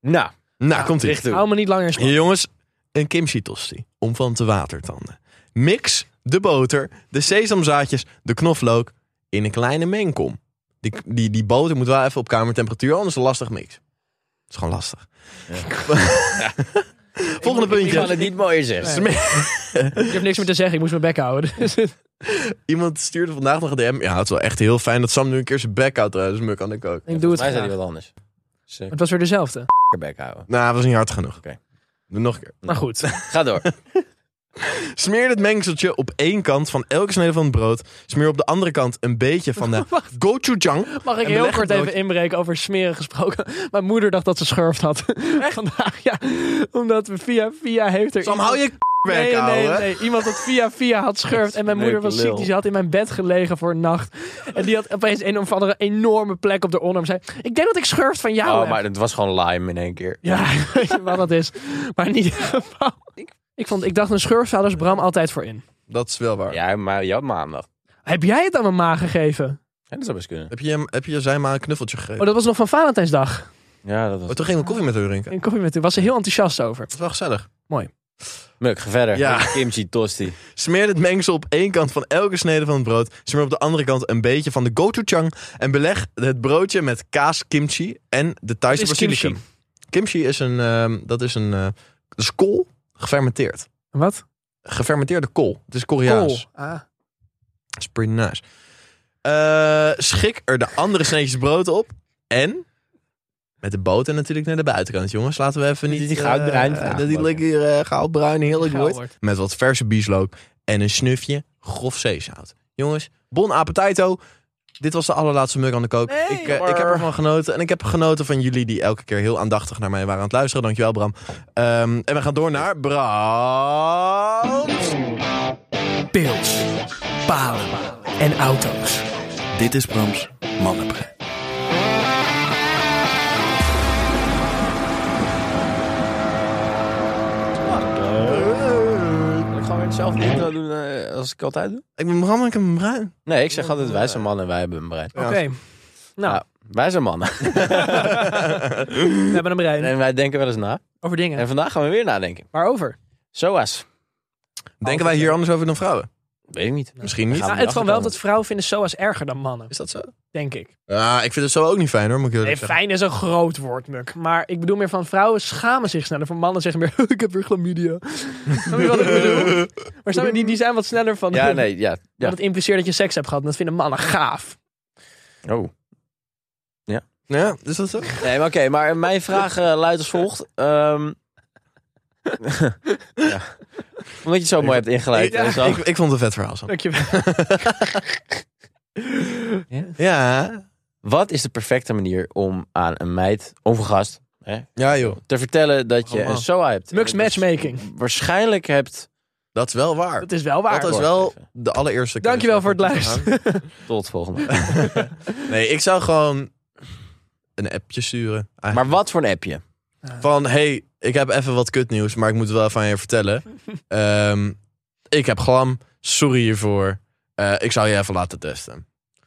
[SPEAKER 3] lekker. Nou,
[SPEAKER 1] Nou, komt ie.
[SPEAKER 3] dicht doen.
[SPEAKER 2] Hou me niet langer in spanning.
[SPEAKER 1] Jongens, een kimchi tosti. Om van te watertanden. Mix de boter, de sesamzaadjes, de knoflook in een kleine mengkom. Die, die, die boter moet wel even op kamertemperatuur, anders is het een lastig mix. Het is gewoon lastig. Volgende
[SPEAKER 3] Ik kan
[SPEAKER 1] puntje.
[SPEAKER 3] het niet mooier zeggen.
[SPEAKER 2] Nee. Ik heb niks meer te zeggen. Ik moest mijn bek houden. Dus
[SPEAKER 1] Iemand stuurde vandaag nog een DM. Ja, het is wel echt heel fijn dat Sam nu een keer zijn back out Dus Muk kan ik ook.
[SPEAKER 2] ik doe het
[SPEAKER 3] Mij zei hij
[SPEAKER 2] graag.
[SPEAKER 3] wat anders. Ze
[SPEAKER 2] Het was weer dezelfde.
[SPEAKER 3] bek houden.
[SPEAKER 1] Nou, dat was niet hard genoeg.
[SPEAKER 3] Oké.
[SPEAKER 1] Doe nog een keer.
[SPEAKER 2] Maar goed.
[SPEAKER 3] Ga door.
[SPEAKER 1] Smeer het mengseltje op één kant van elke snede van het brood. Smeer op de andere kant een beetje van de gochujang.
[SPEAKER 2] Mag ik
[SPEAKER 1] En
[SPEAKER 2] heel
[SPEAKER 1] beleg
[SPEAKER 2] kort
[SPEAKER 1] het
[SPEAKER 2] even inbreken over smeren gesproken? Mijn moeder dacht dat ze schurft had. Vandaag, ja. Omdat we via via heeft er...
[SPEAKER 1] Sam, hou je k-
[SPEAKER 2] Nee,
[SPEAKER 1] werk
[SPEAKER 2] nee,
[SPEAKER 1] houden.
[SPEAKER 2] nee, Iemand dat via via had schurft. En mijn
[SPEAKER 3] Leuke
[SPEAKER 2] moeder was ziek.
[SPEAKER 3] lul.
[SPEAKER 2] Die had in mijn bed gelegen voor een nacht. En die had opeens een of andere enorme plek op de onderarm. Zei, ik denk dat ik schurft van jou
[SPEAKER 3] Oh,
[SPEAKER 2] heb."
[SPEAKER 3] maar het was gewoon lime in één keer.
[SPEAKER 2] Ja, weet je wat dat is. Maar in ieder geval... Ik, vond, ik dacht, een schurft zou dus Bram altijd voor in.
[SPEAKER 1] Dat is wel waar.
[SPEAKER 3] Ja, maar je had maandag.
[SPEAKER 2] Heb jij het aan mijn ma gegeven?
[SPEAKER 3] Ja, dat zou best kunnen.
[SPEAKER 1] Heb je, hem- heb je zij maar een knuffeltje gegeven?
[SPEAKER 2] Oh, dat was nog van Valentijnsdag.
[SPEAKER 3] Ja, dat was...
[SPEAKER 1] Maar toen gingen we koffie met haar drinken.
[SPEAKER 2] En koffie met u. Was ze heel enthousiast over.
[SPEAKER 1] Dat is wel gezellig.
[SPEAKER 3] Muk, ga verder.
[SPEAKER 1] Ja.
[SPEAKER 3] Met Kimchi tosti.
[SPEAKER 1] Smeer het mengsel op één kant van elke snede van het brood. Smeer op de andere kant een beetje van de gochujang. En beleg het broodje met kaas, kimchi en de Thaise
[SPEAKER 2] Wat is kimchi?
[SPEAKER 1] basilicum. Kimchi is een, ehm, dat is een, eh, dat is kool gefermenteerd.
[SPEAKER 2] Wat?
[SPEAKER 1] Gefermenteerde kool. Het is Koreaans.
[SPEAKER 2] Ah.
[SPEAKER 1] Dat is pretty nice. Eh, schik er de andere sneetjes brood op. En met de boter natuurlijk naar de buitenkant, jongens. Laten we even
[SPEAKER 3] Dat
[SPEAKER 1] niet...
[SPEAKER 3] die goudbruin
[SPEAKER 1] eh,
[SPEAKER 3] vraag
[SPEAKER 1] dat die
[SPEAKER 3] maken.
[SPEAKER 1] lekker eh, goudbruin heerlijk
[SPEAKER 2] Geil
[SPEAKER 1] wordt.
[SPEAKER 2] wordt.
[SPEAKER 1] Met wat verse bieslook en een snufje grof zeezout. Jongens, bon appetito. Dit was de allerlaatste mug aan de kook.
[SPEAKER 2] Nee,
[SPEAKER 1] ik, eh,
[SPEAKER 2] maar-
[SPEAKER 1] ik heb ervan genoten. En ik heb genoten van jullie die elke keer heel aandachtig naar mij waren aan het luisteren. Dankjewel, Bram. Ehm, en we gaan door naar Bram.
[SPEAKER 2] Pils, palen en auto's.
[SPEAKER 5] Dit is Brams Mannenbrein.
[SPEAKER 3] Kan ik gewoon weer hetzelfde intro doen eh, als ik altijd doe?
[SPEAKER 1] Ik ben Bram en ik heb een bruin.
[SPEAKER 3] Nee, ik zeg altijd wij zijn mannen en wij hebben een brein.
[SPEAKER 2] Oké. Nou,
[SPEAKER 3] Ja, wij zijn mannen.
[SPEAKER 2] we hebben een brein.
[SPEAKER 3] En wij denken wel eens na.
[SPEAKER 2] Over dingen.
[SPEAKER 3] En vandaag gaan we weer nadenken.
[SPEAKER 2] Waarover?
[SPEAKER 3] Zoas.
[SPEAKER 1] Denken wij hier anders over dan vrouwen?
[SPEAKER 3] Weet ik niet.
[SPEAKER 1] Misschien niet.
[SPEAKER 3] Gaan
[SPEAKER 2] Nou,
[SPEAKER 3] we
[SPEAKER 2] het van wel
[SPEAKER 3] erachter
[SPEAKER 2] dat vrouwen vinden SOA's erger dan mannen,
[SPEAKER 1] Is dat zo?
[SPEAKER 2] denk ik.
[SPEAKER 1] Ah, ik vind het zo ook niet fijn hoor, moet ik
[SPEAKER 2] Nee,
[SPEAKER 1] eerlijk zeggen.
[SPEAKER 2] fijn is een groot woord, Muk. Maar ik bedoel meer van vrouwen schamen zich sneller. Van mannen zeggen meer, ik heb weer chlamydia. Snap je wat ik bedoel? Maar snap je, die, die zijn wat sneller van...
[SPEAKER 3] Ja, nee, ja. ja.
[SPEAKER 2] Want het impliceert dat je seks hebt gehad. En dat vinden mannen gaaf.
[SPEAKER 3] Oh.
[SPEAKER 1] Ja, is dat zo?
[SPEAKER 3] Nee, maar oké, maar mijn vraag eh, luidt als volgt. Ehm, ja. Omdat je het zo mooi hebt ingeleid. eh,
[SPEAKER 1] ik,
[SPEAKER 3] en zo.
[SPEAKER 1] ik, ik vond het een vet verhaal zo.
[SPEAKER 2] Dankjewel.
[SPEAKER 1] Ja,
[SPEAKER 3] Wat is de perfecte manier om aan een meid, of een gast, hè,
[SPEAKER 1] ja joh.
[SPEAKER 3] te vertellen dat je
[SPEAKER 1] Oh, man.
[SPEAKER 3] een SOA hebt?
[SPEAKER 2] Mux
[SPEAKER 3] En dus
[SPEAKER 2] matchmaking.
[SPEAKER 3] Waarschijnlijk hebt...
[SPEAKER 1] Dat is wel waar.
[SPEAKER 2] Dat is wel waar.
[SPEAKER 1] Dat is wel de allereerste keer.
[SPEAKER 2] Dankjewel voor het luisteren.
[SPEAKER 3] Tot volgende week.
[SPEAKER 1] Nee, ik zou gewoon een appje sturen. eigenlijk.
[SPEAKER 3] Maar wat voor een appje?
[SPEAKER 1] Van, hey, ik heb even wat kutnieuws, maar ik moet het wel even aan je vertellen. Ehm, ik heb glam, sorry hiervoor. Eh, ik zou je even laten testen.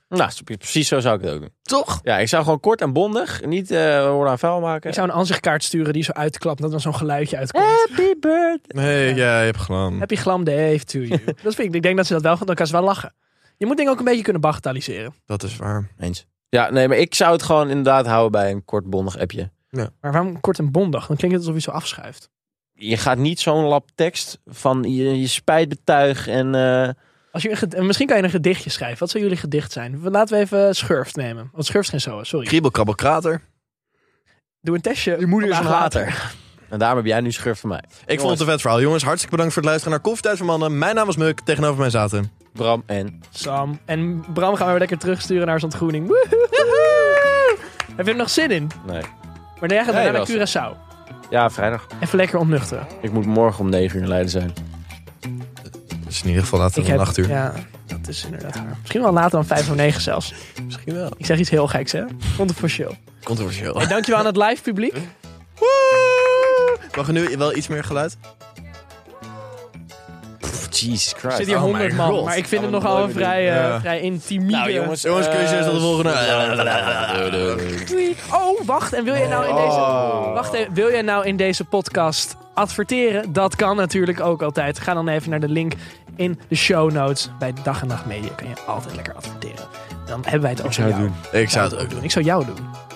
[SPEAKER 3] Nou, precies zo zou ik het ook doen.
[SPEAKER 1] Toch?
[SPEAKER 3] Ja, ik zou gewoon kort en bondig, niet eh woorden aan vuil maken.
[SPEAKER 2] Ik zou een aanzichtkaart sturen die zo uitklapt. Dat dan zo'n geluidje uitkomt.
[SPEAKER 3] Happy birthday.
[SPEAKER 1] Nee, ja, je hebt glam.
[SPEAKER 2] Happy glam Dave to you. dat vind ik. Ik denk dat ze dat wel. Dan kan ze wel lachen. Je moet dingen ook een beetje kunnen bagatelliseren.
[SPEAKER 1] Dat is waar.
[SPEAKER 3] Eens. Ja, nee, maar ik zou het gewoon inderdaad houden bij een kort bondig appje.
[SPEAKER 2] Maar waarom kort en bondig? Dan klinkt het alsof je zo afschuift.
[SPEAKER 3] je gaat niet zo'n lap tekst van je, je spijt betuig en eh,
[SPEAKER 2] Als je een ged- en misschien kan je een gedichtje schrijven. Wat zou jullie gedicht zijn? We- Laten we even Schurft nemen. Want Schurft is geen zo, sorry.
[SPEAKER 1] Kriebel, krabbel, krater.
[SPEAKER 2] Doe een testje. Je moeder
[SPEAKER 3] vandaag later. En daarom heb jij nu schurft van mij.
[SPEAKER 1] Ik vond het een vet verhaal. Jongens, hartstikke bedankt voor het luisteren naar Koffietijd voor Mannen. Mijn naam was Muk, tegenover mij zaten...
[SPEAKER 3] Bram en...
[SPEAKER 2] Sam. En Bram gaan we weer lekker terugsturen naar zijn ontgroening. Woehoe! Heb je er nog zin in? Maar
[SPEAKER 3] Nee.
[SPEAKER 2] nee, jij gaat
[SPEAKER 3] Nee,
[SPEAKER 2] daarna
[SPEAKER 3] wel.
[SPEAKER 2] naar Curaçao.
[SPEAKER 3] Ja, vrijdag.
[SPEAKER 2] Even lekker ontnuchteren.
[SPEAKER 3] Ik moet morgen om 9 uur in Leiden zijn.
[SPEAKER 1] Dus in ieder geval laten we om acht uur.
[SPEAKER 2] Ja, dat is inderdaad waar. Misschien wel later dan vijf of negen zelfs.
[SPEAKER 1] Misschien wel.
[SPEAKER 2] Ik zeg iets heel geks, hè? Controversieel.
[SPEAKER 1] Controversieel.
[SPEAKER 2] Hey, dankjewel aan het live publiek.
[SPEAKER 1] Mag er nu wel iets meer geluid?
[SPEAKER 3] Jesus Christ.
[SPEAKER 2] Zit hier
[SPEAKER 1] Oh my
[SPEAKER 2] honderd man.
[SPEAKER 1] God.
[SPEAKER 2] Maar ik vind het
[SPEAKER 3] Gaan we
[SPEAKER 2] nogal een
[SPEAKER 3] nooit meer
[SPEAKER 2] vrij, eh,
[SPEAKER 1] Ja.
[SPEAKER 2] vrij intimide.
[SPEAKER 3] Nou jongens,
[SPEAKER 1] Jongens,
[SPEAKER 3] eh,
[SPEAKER 1] kusjes, tot de volgende.
[SPEAKER 2] Tweet. Oh, wacht. En wil jij nou in deze...
[SPEAKER 3] Oh.
[SPEAKER 2] Wacht even, wil jij nou in deze podcast adverteren? Dat kan natuurlijk ook altijd. Ga dan even naar de link in de show notes. Bij Dag en Nacht Media kan je altijd lekker adverteren. Dan hebben wij het ook
[SPEAKER 3] zou het
[SPEAKER 2] jou.
[SPEAKER 3] doen.
[SPEAKER 1] Ik zou
[SPEAKER 2] het
[SPEAKER 1] het ook doen.
[SPEAKER 2] Ik zou jou doen.